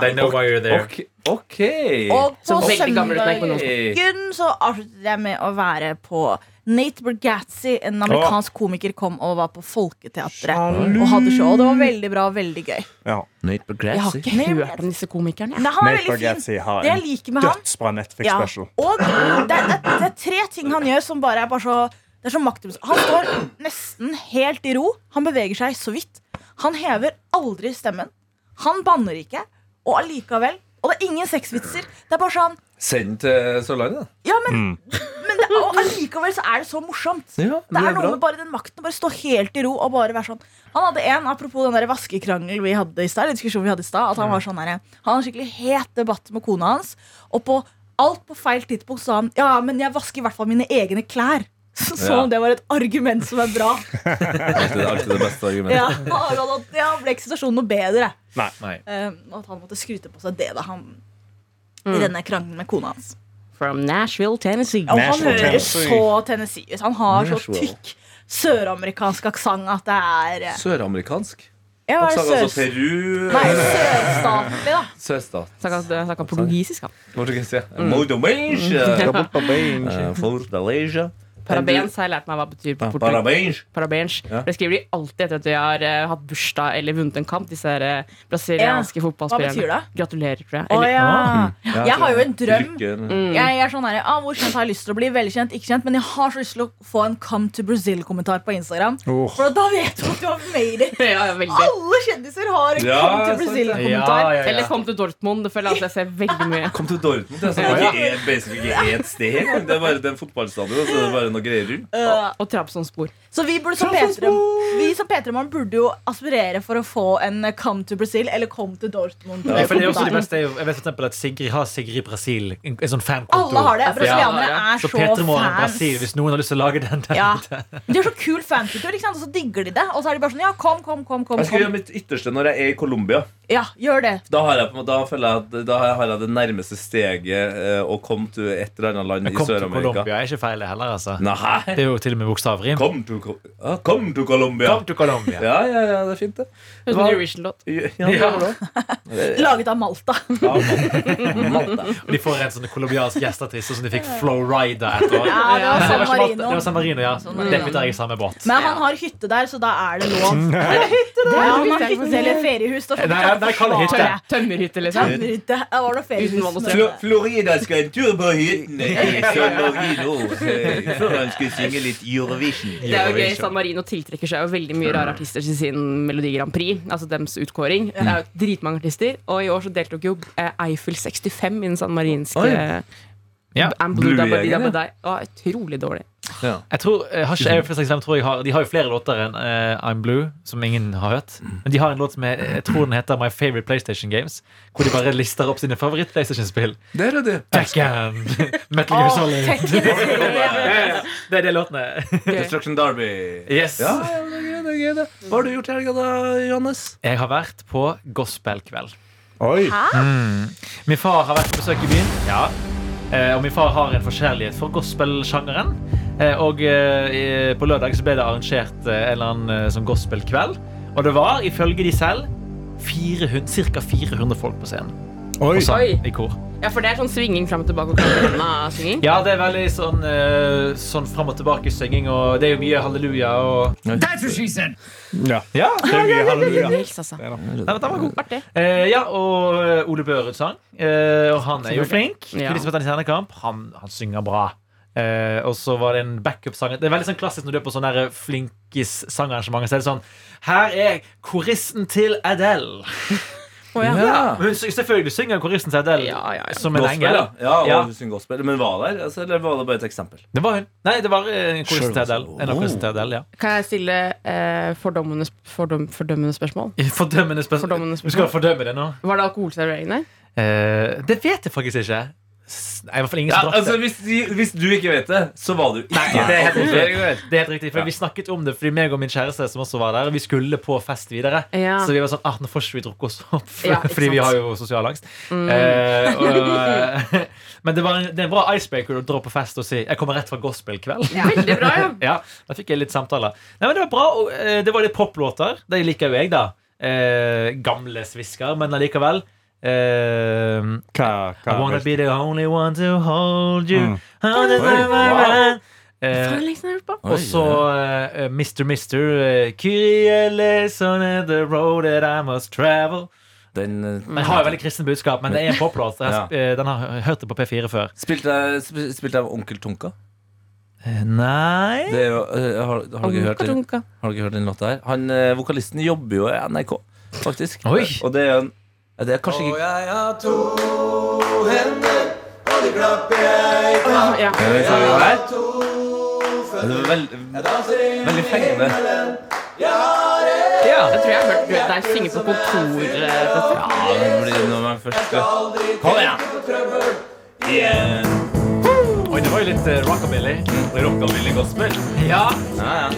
Speaker 2: *laughs* They know why you're there.
Speaker 3: Ok. ok.
Speaker 8: Og på
Speaker 5: Så veldig gammel ut når jeg
Speaker 8: søndag
Speaker 5: kom nå.
Speaker 8: uken så avsluttet jeg med å være på Nate Bergazzi, en amerikansk komiker, kom og var på Folketeatret. Og hadde show. Det var veldig bra og veldig gøy.
Speaker 6: Ja.
Speaker 3: Nate
Speaker 5: Jeg har
Speaker 3: Bergrazzi.
Speaker 5: ikke hørt om disse komikerne. jeg.
Speaker 8: Nei, han er
Speaker 6: Nate
Speaker 8: veldig fin.
Speaker 6: Bargatze har
Speaker 8: Det jeg
Speaker 6: en
Speaker 8: liker med han
Speaker 6: dødsbra Netflix
Speaker 8: ja.
Speaker 6: special.
Speaker 8: Og det, det, det er tre ting han gjør som bare er bare så Det er så maktløst. Han står nesten helt i ro. Han beveger seg så vidt. Han hever aldri stemmen. Han banner ikke. Og allikevel. Og det er ingen sexvitser. Det er bare sånn
Speaker 3: Send den til Sørlandet, da.
Speaker 8: Ja, men, men det, og allikevel så er det så morsomt.
Speaker 3: Ja,
Speaker 8: Det er noe
Speaker 3: bra.
Speaker 8: med bare den makten. å Bare stå helt i ro og bare være sånn. Han hadde en, apropos den der vaskekrangel vi hadde i stad, eller diskusjonen vi hadde i stad, at han var sånn her, han hadde en skikkelig het debatt med kona hans, og på alt på feil tidspunkt sa han ja, men jeg vasker i hvert fall mine egne klær. *laughs* Så- Som
Speaker 3: Ja.
Speaker 8: om det var et argument som er bra.
Speaker 3: Alltid- alltid det beste argumentet.
Speaker 8: Ja, han- ja, ble ikke situasjonen noe bedre.
Speaker 6: Nei.
Speaker 8: Eh, at han måtte skryte på seg det da han i denne krangelen med kona hans.
Speaker 5: From Nashville, Tennessee.
Speaker 8: Og han
Speaker 6: Nashville,
Speaker 8: hører
Speaker 6: Tennessee.
Speaker 8: så Tennessee ut. Han har så
Speaker 3: Nashville.
Speaker 8: tykk søramerikansk aksent at det er eh,
Speaker 3: Søramerikansk.
Speaker 8: Ja, hva
Speaker 3: Han
Speaker 8: er
Speaker 3: snakka også
Speaker 8: det sør...
Speaker 3: altså Peru
Speaker 8: Nei, sørstatlig, da.
Speaker 3: Søstat.
Speaker 5: Snakka portugisisk, han.
Speaker 3: Portugis, ja. Moldovisia. Eh, Fortaleza.
Speaker 5: Parabens har jeg lært meg hva betyr på
Speaker 3: Ja,
Speaker 5: portugisisk.
Speaker 3: Parabéns.
Speaker 5: Parabéns.
Speaker 3: Ja.
Speaker 5: For Det skriver de alltid etter at de har eh, hatt bursdag eller vunnet en kamp. Disse her, eh, brasilianske fotballspillerne.
Speaker 8: betyr det?
Speaker 5: Gratulerer, tror jeg.
Speaker 8: Å
Speaker 5: Eller,
Speaker 8: ja.
Speaker 3: Ja,
Speaker 8: Jeg
Speaker 3: så-
Speaker 8: har jo en drøm.
Speaker 3: Lykke.
Speaker 8: Jeg, jeg er sånn her, ah, Hvor kjent har jeg lyst til å bli? Veldig kjent, ikke kjent. Men jeg har så lyst til å få en Come to Brazil-kommentar på Instagram. For da vet du at du har made it.
Speaker 5: *laughs* ja, veldig.
Speaker 8: Alle kjendiser har en
Speaker 3: Ja,
Speaker 8: Come to
Speaker 3: sant det.
Speaker 8: Brazil-kommentar.
Speaker 2: Ja, ja, ja.
Speaker 5: Eller kom til Dortmund. Det føler jeg at jeg ser
Speaker 3: *laughs*
Speaker 5: veldig mye.
Speaker 3: Kom til Dortmund. Det er, sånn,
Speaker 2: Ja.
Speaker 3: ikke er basically ikke ett sted engang. Det er bare den fotballstadion. Så det er bare noe greier rundt.
Speaker 8: Øh,
Speaker 5: Og sånn Trabzonspor.
Speaker 8: så vi burde som Petrem, vi som P3-morgen burde jo aspirere for å få en eh, Come to Brazil eller Come to Dortmund.
Speaker 2: Ja, for det er også de
Speaker 8: kommentar.
Speaker 2: beste er jo- Jeg vet for eksempel at Sigrid har Sigrid Brasil. En, en sånn fankonto.
Speaker 8: Alle har det.
Speaker 5: Ja,
Speaker 8: Brasilianere
Speaker 5: ja.
Speaker 8: er
Speaker 2: Så
Speaker 8: så
Speaker 2: Peter Morgen
Speaker 8: fans.
Speaker 2: Brasil, hvis noen har lyst til å lage den der
Speaker 8: Ja.
Speaker 2: ute.
Speaker 8: De har så kul fankultur, ikke sant? og så digger de det. Og så er de bare sånn Ja, kom, kom, kom. kom,
Speaker 3: Jeg skal gjøre
Speaker 8: kom.
Speaker 3: mitt ytterste når jeg er i Colombia.
Speaker 8: Ja, gjør det.
Speaker 3: Da har jeg, på en måte- da føler jeg, at, da har jeg det nærmeste steget eh, å komme til et eller annet land
Speaker 2: Men
Speaker 3: i
Speaker 2: Kom til
Speaker 3: Sør-Amerika.
Speaker 2: Colombia er ikke feil, det heller. altså
Speaker 3: Nei!
Speaker 2: Det er jo til og med bokstavrim.
Speaker 3: Kom til, Ko- ja, kom til Colombia!
Speaker 2: Kom til Colombia.
Speaker 3: Ja, ja, ja, det er fint, det.
Speaker 5: Høres ut som en Eurovision-låt.
Speaker 3: Ja, det var det.
Speaker 8: Laget av Malta.
Speaker 3: Ja, Malta.
Speaker 2: Og de får en sånn colombiansk gjesteartist som de fikk Flow Rida etter.
Speaker 8: Ja,
Speaker 2: Nei,
Speaker 8: det var
Speaker 2: det
Speaker 8: San
Speaker 2: var ikke Malta.
Speaker 8: Marino.
Speaker 2: Det var San Marino, ja. Det putter jeg i samme båt.
Speaker 8: Men han har hytte der, så da er det lov. Er det hytte der? Ja, han har hytte eller feriehus. Da,
Speaker 2: Nei, nei, nei, kall det hytte.
Speaker 8: Tømmerhytte.
Speaker 5: Tømmerhytte, liksom.
Speaker 8: Tømmerhytte. Ja, var det
Speaker 5: Uten vann og
Speaker 8: feriehus?
Speaker 5: strøm.
Speaker 3: Flo- Florida skal en tur på
Speaker 2: *laughs*
Speaker 3: hyttene i San Marino eh, før han skulle synge litt Eurovision.
Speaker 5: Det er jo gøy, sånn- San Marino tiltrekker seg jo veldig mye rare artister til sin Melodi Grand Prix. Altså dems utkåring. Det er jo dritmange artister. Og i år så deltok jo eh, Eiffel 65 i den san marinske
Speaker 3: Oi.
Speaker 2: Ja.
Speaker 5: And Blue Dabba Dee
Speaker 3: Bluegjengen,
Speaker 5: Dabba Dei. Å, Utrolig dårlig.
Speaker 2: Jeg tror, jeg har ikke, jeg, for eksempel, tror jeg har, de har jo flere låter enn eh, I'm Blue, som ingen har hørt. Men de har en låt som jeg, jeg tror den heter My Favorite PlayStation Games. Hvor de bare lister opp sine favoritt-PlayStation-spill.
Speaker 3: Der er det.
Speaker 2: Tekken, *laughs* Metal Gear Solid. *laughs* Det er de låtene.
Speaker 3: Destruction Derby.
Speaker 2: Yes.
Speaker 3: Ja, ja, det er gøy, det er gøy, det. Hva har du gjort i helga, da, Johannes?
Speaker 2: Jeg har vært på gospelkveld.
Speaker 6: Oi.
Speaker 2: Min far har vært på besøk i byen. Ja. Eh, Og min far har en forkjærlighet for gospelsjangeren. Eh, Og eh, i- på lørdag så ble det arrangert eh, en eller annen eh, sånn gospelkveld. Og det var, ifølge de selv, 400, ca. 400 folk på scenen.
Speaker 6: Oi.
Speaker 2: Og sang
Speaker 5: Oi.
Speaker 2: i kor.
Speaker 5: Ja, for det er sånn svinging fram og tilbake. Og Katarina-svinging.
Speaker 2: Ja, det er veldig sånn, eh, sånn fram og tilbake-synging, og det er jo mye halleluja og
Speaker 6: Ja.
Speaker 2: Ja,
Speaker 6: Det er mye halleluja.
Speaker 5: Yes, altså.
Speaker 2: Nei, men den var god.
Speaker 5: Artig.
Speaker 2: Eh, ja, og eh, Ole Børud sang. Eh, og han er jo flink.
Speaker 5: Ja.
Speaker 2: For de som vet han i Stjernekamp, han, han synger bra. Eh, og så var det en backup-sanger. Det er veldig sånn klassisk når du er på sånne der flinkis-sangarrangementer. Så er det sånn Her er koristen til Adele.
Speaker 3: Ja.
Speaker 2: Men sy- selvfølgelig synger koristen til Adele
Speaker 5: Ja, ja, ja.
Speaker 2: som en
Speaker 3: Gospel,
Speaker 2: engel.
Speaker 3: ja. ja, og
Speaker 2: Ja.
Speaker 3: du synger gospel. Men var det der? Altså, eller var det bare et eksempel?
Speaker 2: Det var hun. Nei, det var eh, en koristen til Adele. En av
Speaker 3: Oh.
Speaker 2: koristen til Adele, ja.
Speaker 5: Kan jeg stille eh, fordommende, sp- fordom, fordømmende spørsmål?
Speaker 2: Fordømmende
Speaker 5: Fordømmende
Speaker 2: spørsmål.
Speaker 5: spørsmål.
Speaker 2: Du skal fordømme det nå?
Speaker 5: Var det alkoholservering der?
Speaker 2: Eh, det vet jeg faktisk ikke. S- Nei, i hvert fall ingen
Speaker 3: Ja,
Speaker 2: som drakk det.
Speaker 3: altså, hvis, hvis du ikke vet det, så var du ikke
Speaker 2: Nei, det er helt
Speaker 3: det.
Speaker 2: riktig. Det er helt riktig for Vi snakket om det fordi meg og min kjæreste som også var der, vi skulle på fest videre.
Speaker 5: Ja.
Speaker 2: Så vi var sånn ah, Nå får ikke vi drukke oss opp, for,
Speaker 5: *laughs* Ja, ikke
Speaker 2: fordi vi
Speaker 5: sant.
Speaker 2: har jo sosial angst.
Speaker 5: Mm.
Speaker 2: Eh, og, *laughs* men det, var en, det er en bra icebreaker å dra på fest og si 'Jeg kommer rett fra gospelkveld'. *laughs*
Speaker 5: Veldig bra, ja.
Speaker 2: Ja, Da fikk jeg litt samtaler. Nei, men Det var bra, og eh, det var litt poplåter. Det liker jo jeg, da. Eh, gamle svisker, men allikevel. Eh,
Speaker 6: Hva,
Speaker 2: I wanna be the only one to hold you.
Speaker 6: Mm.
Speaker 3: Oi,
Speaker 2: Eh,
Speaker 5: Faen, liksom, jeg hørte på.
Speaker 2: og så eh, Mr. Mister eh, Kyrie eleison and the road that I must travel
Speaker 3: Den eh,
Speaker 2: Den har jo veldig kristen budskap, men det er en poplåt. Jeg sp- eh, Den har jeg hørt det på P4 før.
Speaker 3: Spilte jeg, sp- spilte jeg av Onkel Tonka?
Speaker 2: Eh, Nei
Speaker 3: Det er jo, eh, har, har, dere hørt den,
Speaker 5: Dunka, dunka.
Speaker 3: har dere hørt den låta her? Han, eh, vokalisten jobber jo i NRK, faktisk.
Speaker 2: Oi.
Speaker 3: Og det er jo en ja, det er kanskje ikke
Speaker 5: Ja.
Speaker 3: Ja, det er jo her. Ja, det var veld, veldig fengende.
Speaker 2: ja.
Speaker 5: Jeg tror jeg har hørt deg synge på eh, kontoret. Petter.
Speaker 3: Ja, det blir når man først skal Kom igjen!
Speaker 2: Oi, det var jo litt eh, rockabilly.
Speaker 3: Rockabilly gospel.
Speaker 2: Ja.
Speaker 3: Ja, ja.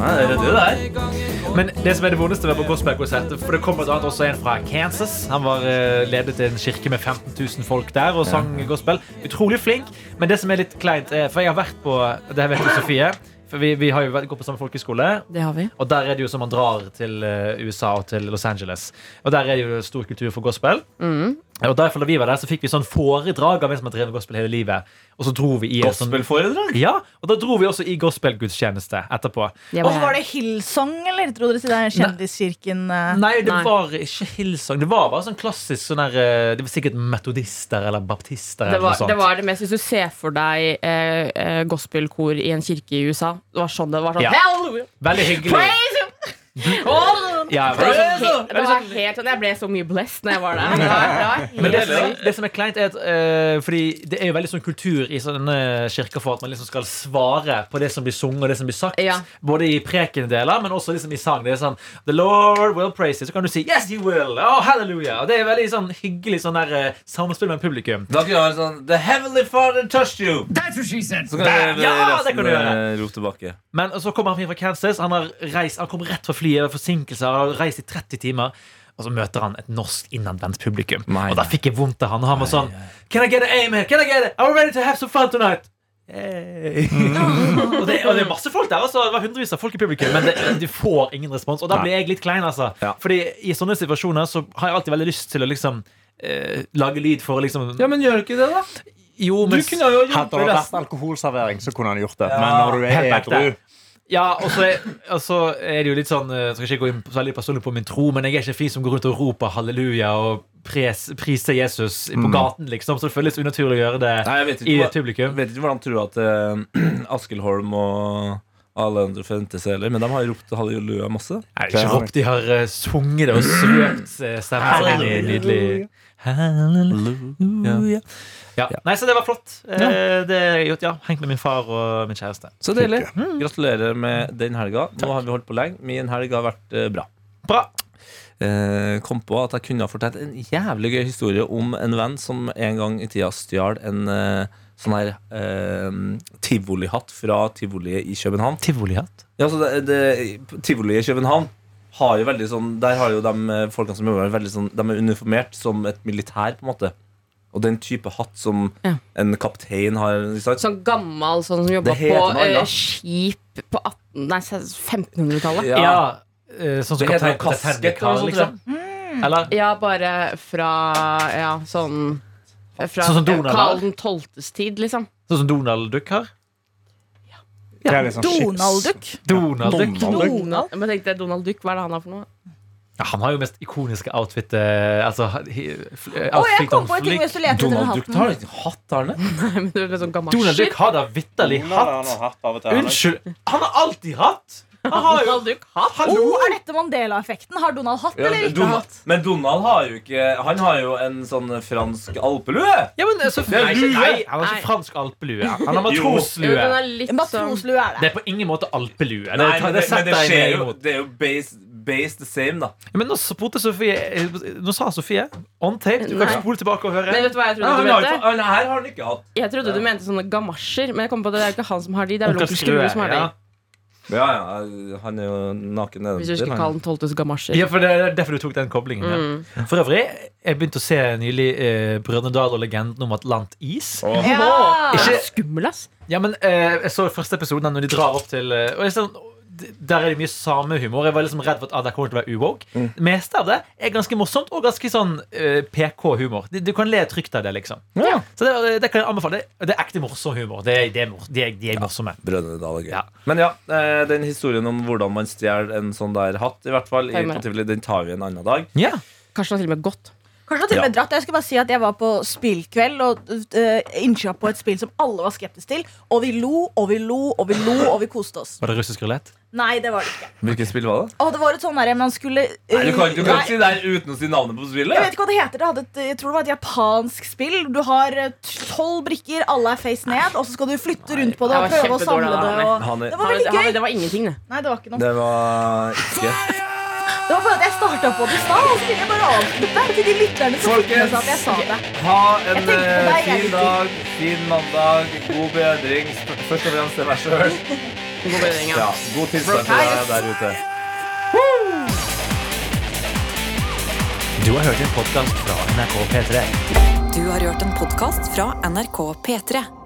Speaker 3: Nei, det er du der.
Speaker 2: Men det som er det vondeste ved på gospelkonsert For det kom blant annet også en fra Kansas. Han var eh, ledet til en kirke med 15 000 folk der og eh, sang gospel. Utrolig flink. Men det som er litt kleint, er For jeg har vært på Det her vet du, Sofie. For vi, vi har jo vært- gått på samme folkeskole,
Speaker 5: Det har vi.
Speaker 2: og der er det jo som man drar til eh, USA og til Los Angeles. Og der er det jo stor kultur for gospel.
Speaker 5: Mm.
Speaker 2: Og derfor da vi var der, så fikk vi sånn foredrag av en som har drevet gospel hele livet. Og så dro vi i en sånn
Speaker 3: Gospelforedrag?
Speaker 2: ja, og da dro vi også i gospelgudstjeneste etterpå.
Speaker 5: Jeg
Speaker 8: Og så var det Hillsong, eller? Tror dere til den kjendiskirken? eh?
Speaker 2: Nei, det
Speaker 5: Nei.
Speaker 2: var ikke Hillsong. Det var bare sånn klassisk sånn der, eh, Det var sikkert metodister eller baptister.
Speaker 5: Det
Speaker 2: eller noe
Speaker 5: var,
Speaker 2: sånt.
Speaker 5: det var det mest Hvis du ser for deg eh, eh, gospelkor i en kirke i USA Det var sånn det var. sånn
Speaker 2: Ja.
Speaker 5: Hallelujah!
Speaker 2: Veldig hyggelig.
Speaker 5: Praise him! Oh!
Speaker 2: Ja,
Speaker 5: Det var,
Speaker 2: men-
Speaker 5: sånn, helt- det var helt sånn, Jeg ble så mye blessed når jeg var der. Det var, det var helt
Speaker 2: men det, som
Speaker 5: sykt.
Speaker 2: er, det som er kleint, er at eh, Fordi det er jo veldig sånn kultur i sånne kirker for at man liksom skal svare på det som blir sunget og det som blir sagt.
Speaker 5: Ja.
Speaker 2: Både i prekendeler, men også liksom i sang. Det er sånn The Lord will praise you. Så kan du si Yes, you will. Oh, hallelujah. Og det er veldig sånn hyggelig sånn der eh, samspill med publikum.
Speaker 3: Da kunne jeg ha en sånn The Heavenly Father touched you! Så kan jeg
Speaker 2: Ja, det
Speaker 3: resten
Speaker 2: kan du gjøre.
Speaker 3: eh, rope tilbake.
Speaker 2: Men så kommer han fra Kansas. Han, har reist, han kom rett fra flyet, forsinkelser, han har reist i 30 timer. Og så møter han et norsk innadvendt publikum.
Speaker 3: Nei,
Speaker 2: og da
Speaker 3: nei.
Speaker 2: fikk jeg vondt av han. Og han var sånn Can I get an amen? Can I get it? I'm ready to have some fun tonight. Hey. og, det, og det er masse folk der. Altså. Det var hundrevis av folk i publikum. Men det, du får ingen respons. Og da blir jeg litt klein, altså.
Speaker 3: Ja.
Speaker 2: Fordi i sånne situasjoner så har jeg alltid veldig lyst til å liksom eh, lage lyd for å liksom
Speaker 9: Ja, men gjør ikke det, da.
Speaker 2: Jo,
Speaker 9: Du
Speaker 2: men
Speaker 9: kunne jo hjulpet
Speaker 6: Hadde det vært
Speaker 9: resten.
Speaker 6: alkoholservering, så kunne han gjort det. Men når du er
Speaker 2: helt
Speaker 6: edru
Speaker 2: ekte. Ja, og så er, og så er det jo litt sånn eh, Skal ikke gå inn på- så veldig personlig på min tro, men jeg er ikke en fyr som går rundt og roper halleluja og pres, priser Jesus på gaten, liksom. Så det føles unaturlig å gjøre det
Speaker 3: Nei, jeg vet
Speaker 2: i
Speaker 3: ikke,
Speaker 2: et
Speaker 3: hva, jeg
Speaker 2: publikum.
Speaker 3: vet ikke hvordan tror at eh, *clears throat* Askild Holm og Alejandro Fentes heller, men de har ropt halleluja masse.
Speaker 2: Nei, ikke ropt, de har eh, sunget det og svøpt eh, stemmen sin inn i nydelig Halleluja. Ja. Nei, så det var flott. Eh, Det er gjort, ja. Hengt med min far og min kjæreste.
Speaker 3: Så deilig.
Speaker 2: Mm.
Speaker 3: Gratulerer med den helga. Nå har vi holdt på lenge. Min helg har vært eh, bra.
Speaker 2: Bra.
Speaker 3: Eh, kom på at jeg kunne ha fortalt en jævlig gøy historie om en venn som en gang i tida stjal en eh, sånn her eh, tivolihatt fra tivoliet i København.
Speaker 2: Tivolihatt.
Speaker 3: Ja, så det, det, Tivoli i København har jo veldig sånn Der har jo de eh, folkene som jobber der, veldig sånn De er uniformert som et militær, på en måte. Og den type hatt som
Speaker 5: Ja.
Speaker 3: en kaptein har. Ikke sant?
Speaker 5: Sånn gammel sånn som jobba
Speaker 3: Det heter
Speaker 5: på
Speaker 3: noe annet.
Speaker 5: eh, skip på 18, nei, 1500-tallet.
Speaker 2: Ja.
Speaker 3: Ja.
Speaker 2: eh, sånn som
Speaker 3: Det heter
Speaker 2: kaptein på
Speaker 3: kasket
Speaker 2: Titanic,
Speaker 3: eller noe sånt,
Speaker 2: liksom. Eller?
Speaker 5: Ja, bare fra ja, sånn fra
Speaker 2: Sånn som Donald,
Speaker 5: Karl den 12.s tid, liksom.
Speaker 2: Sånn som Donald Duck har?
Speaker 6: Det er litt sånn shit.
Speaker 8: Donald-dukk.
Speaker 2: Donald Duck.
Speaker 5: Donald. Men tenkte jeg, Donald Duck, hva er det han har for noe?
Speaker 2: Ja, han har jo mest ikoniske outfit eh, Altså he- fl- eh,
Speaker 8: Å, jeg
Speaker 2: outfit
Speaker 8: kom
Speaker 2: on
Speaker 8: på en ting
Speaker 2: flick.
Speaker 8: hvis du leter etter den
Speaker 3: Donald Duck tar
Speaker 8: hatten.
Speaker 3: ikke hatt, har han det?
Speaker 5: Nei, *laughs* men det er litt sånn gammel
Speaker 2: Donald Duck
Speaker 5: shit.
Speaker 2: har da vitterlig hatt. Unnskyld! Han har alltid hatt! Han har jo
Speaker 5: Donald Duck har
Speaker 8: Hallo, er dette Mandela-effekten? Har Donald hatt eller ikke
Speaker 3: Donald-
Speaker 8: hatt?
Speaker 3: men Donald har jo ikke Han har jo en sånn fransk alpelue!
Speaker 2: ja, men, altså,
Speaker 3: er
Speaker 2: nei, ikke-
Speaker 3: lue.
Speaker 2: nei, han har
Speaker 5: Nei.
Speaker 2: ikke fransk
Speaker 5: *laughs*
Speaker 2: alpelue. Han har
Speaker 3: Jo.
Speaker 5: Jo, den
Speaker 2: matroslue.
Speaker 5: er litt
Speaker 8: En
Speaker 5: sånn
Speaker 8: Matroslue er
Speaker 2: Det
Speaker 8: det.
Speaker 2: er på ingen måte alpelue. Det,
Speaker 3: Nei,
Speaker 2: det
Speaker 3: men det, men
Speaker 2: setter
Speaker 3: det
Speaker 2: jeg
Speaker 3: skjer
Speaker 2: meg
Speaker 3: jo
Speaker 2: imot.
Speaker 3: Det er jo base, base the same, da.
Speaker 2: Men nå spurte Sofie eh, Nå sa Sofie on tape. Du kan
Speaker 5: Nei.
Speaker 2: ikke spole tilbake og høre.
Speaker 5: Men vet du hva jeg
Speaker 3: Han
Speaker 5: trodde du
Speaker 3: har ikke,
Speaker 5: mente?
Speaker 3: han her har han ikke hatt.
Speaker 5: Jeg trodde du mente sånne gamasjer, men jeg kom på at det er ikke han som har de. Det er vel
Speaker 2: Onkel
Speaker 5: onkel
Speaker 2: Skrue,
Speaker 5: Skrue som har de.
Speaker 2: ja.
Speaker 3: Ja, ja, han er jo naken
Speaker 5: Hvis du
Speaker 3: nedentil.
Speaker 5: skal
Speaker 3: han.
Speaker 5: kalle den 12.s gamasjer.
Speaker 2: Ja, for Det er derfor du tok den koblingen.
Speaker 5: Mm.
Speaker 2: Ja. For øvrig, jeg begynte å se nylig eh, Brønnøy Dal og legenden om Atlant Is.
Speaker 8: Ja.
Speaker 5: Det
Speaker 2: Ikke-
Speaker 5: er Skummel, ass.
Speaker 2: Ja, men eh, Jeg så første episoden der når de drar opp til eh, og jeg sånn, d- Der er det mye samehumor. Jeg var liksom redd for at ah, det kommer til å være uwoke. Det meste av det er ganske morsomt og ganske sånn eh, PK-humor. Du, du kan le trygt av det, liksom. Så det, det kan jeg anbefale. Det, det er ekte morsom humor. Det, det er mor, de, er, de er morsomme.
Speaker 3: Brødrene Dal er gøy.
Speaker 2: Ja.
Speaker 3: Men ja, eh, den historien om hvordan man stjeler en sånn der hatt, i hvert fall, i,
Speaker 5: Stemmer.
Speaker 3: på Tivoli, den tar vi en annen dag.
Speaker 2: Ja.
Speaker 5: Karsten har til og med gått.
Speaker 8: Kanskje han til og med dratt. Jeg skal bare si at jeg var på spillkveld og uh, innkjøp på et spill som alle var skeptiske til. Og vi lo og vi lo og vi lo og vi koste oss.
Speaker 2: Var det russisk rulett?
Speaker 8: Nei, det var det ikke.
Speaker 3: Hvilket spill var det?
Speaker 8: Og det var et sånn derre man skulle eh,
Speaker 3: Nei, du kan, du kan
Speaker 8: nei,
Speaker 3: ikke si det her uten å si navnet på
Speaker 8: Jeg
Speaker 3: spillet.
Speaker 8: vet ikke hva det heter. Det hadde et, jeg tror det var et japansk spill. Du har eh, tolv brikker, alle er face ned, og så skal du flytte rundt på det og
Speaker 5: det var
Speaker 8: prøve å
Speaker 5: kjempedårlig,
Speaker 8: samle det.
Speaker 5: Arne.
Speaker 3: Han
Speaker 8: Og...
Speaker 3: er-
Speaker 8: Det var
Speaker 5: Han,
Speaker 8: veldig
Speaker 5: han,
Speaker 8: gøy.
Speaker 5: det var ingenting, det.
Speaker 8: Nei, det var ikke noe.
Speaker 3: Det var ikke
Speaker 8: Det var bare at jeg starta på det i stad, og så ville jeg bare avslutte til de lytterne som fikk med seg at jeg sa det.
Speaker 3: Ha en
Speaker 8: Jeg tenkte på
Speaker 3: eh,
Speaker 8: deg, jeg
Speaker 3: fin
Speaker 8: liker.
Speaker 3: dag, fin mandag, god bedring. Sp- Først og fremst til meg sjøl.
Speaker 5: *laughs* God bedring, ja.
Speaker 3: Ja, god tilstand til deg der ute.
Speaker 2: Du har hørt en podkast fra NRK P3.
Speaker 1: Du har hørt en podkast fra NRK P3.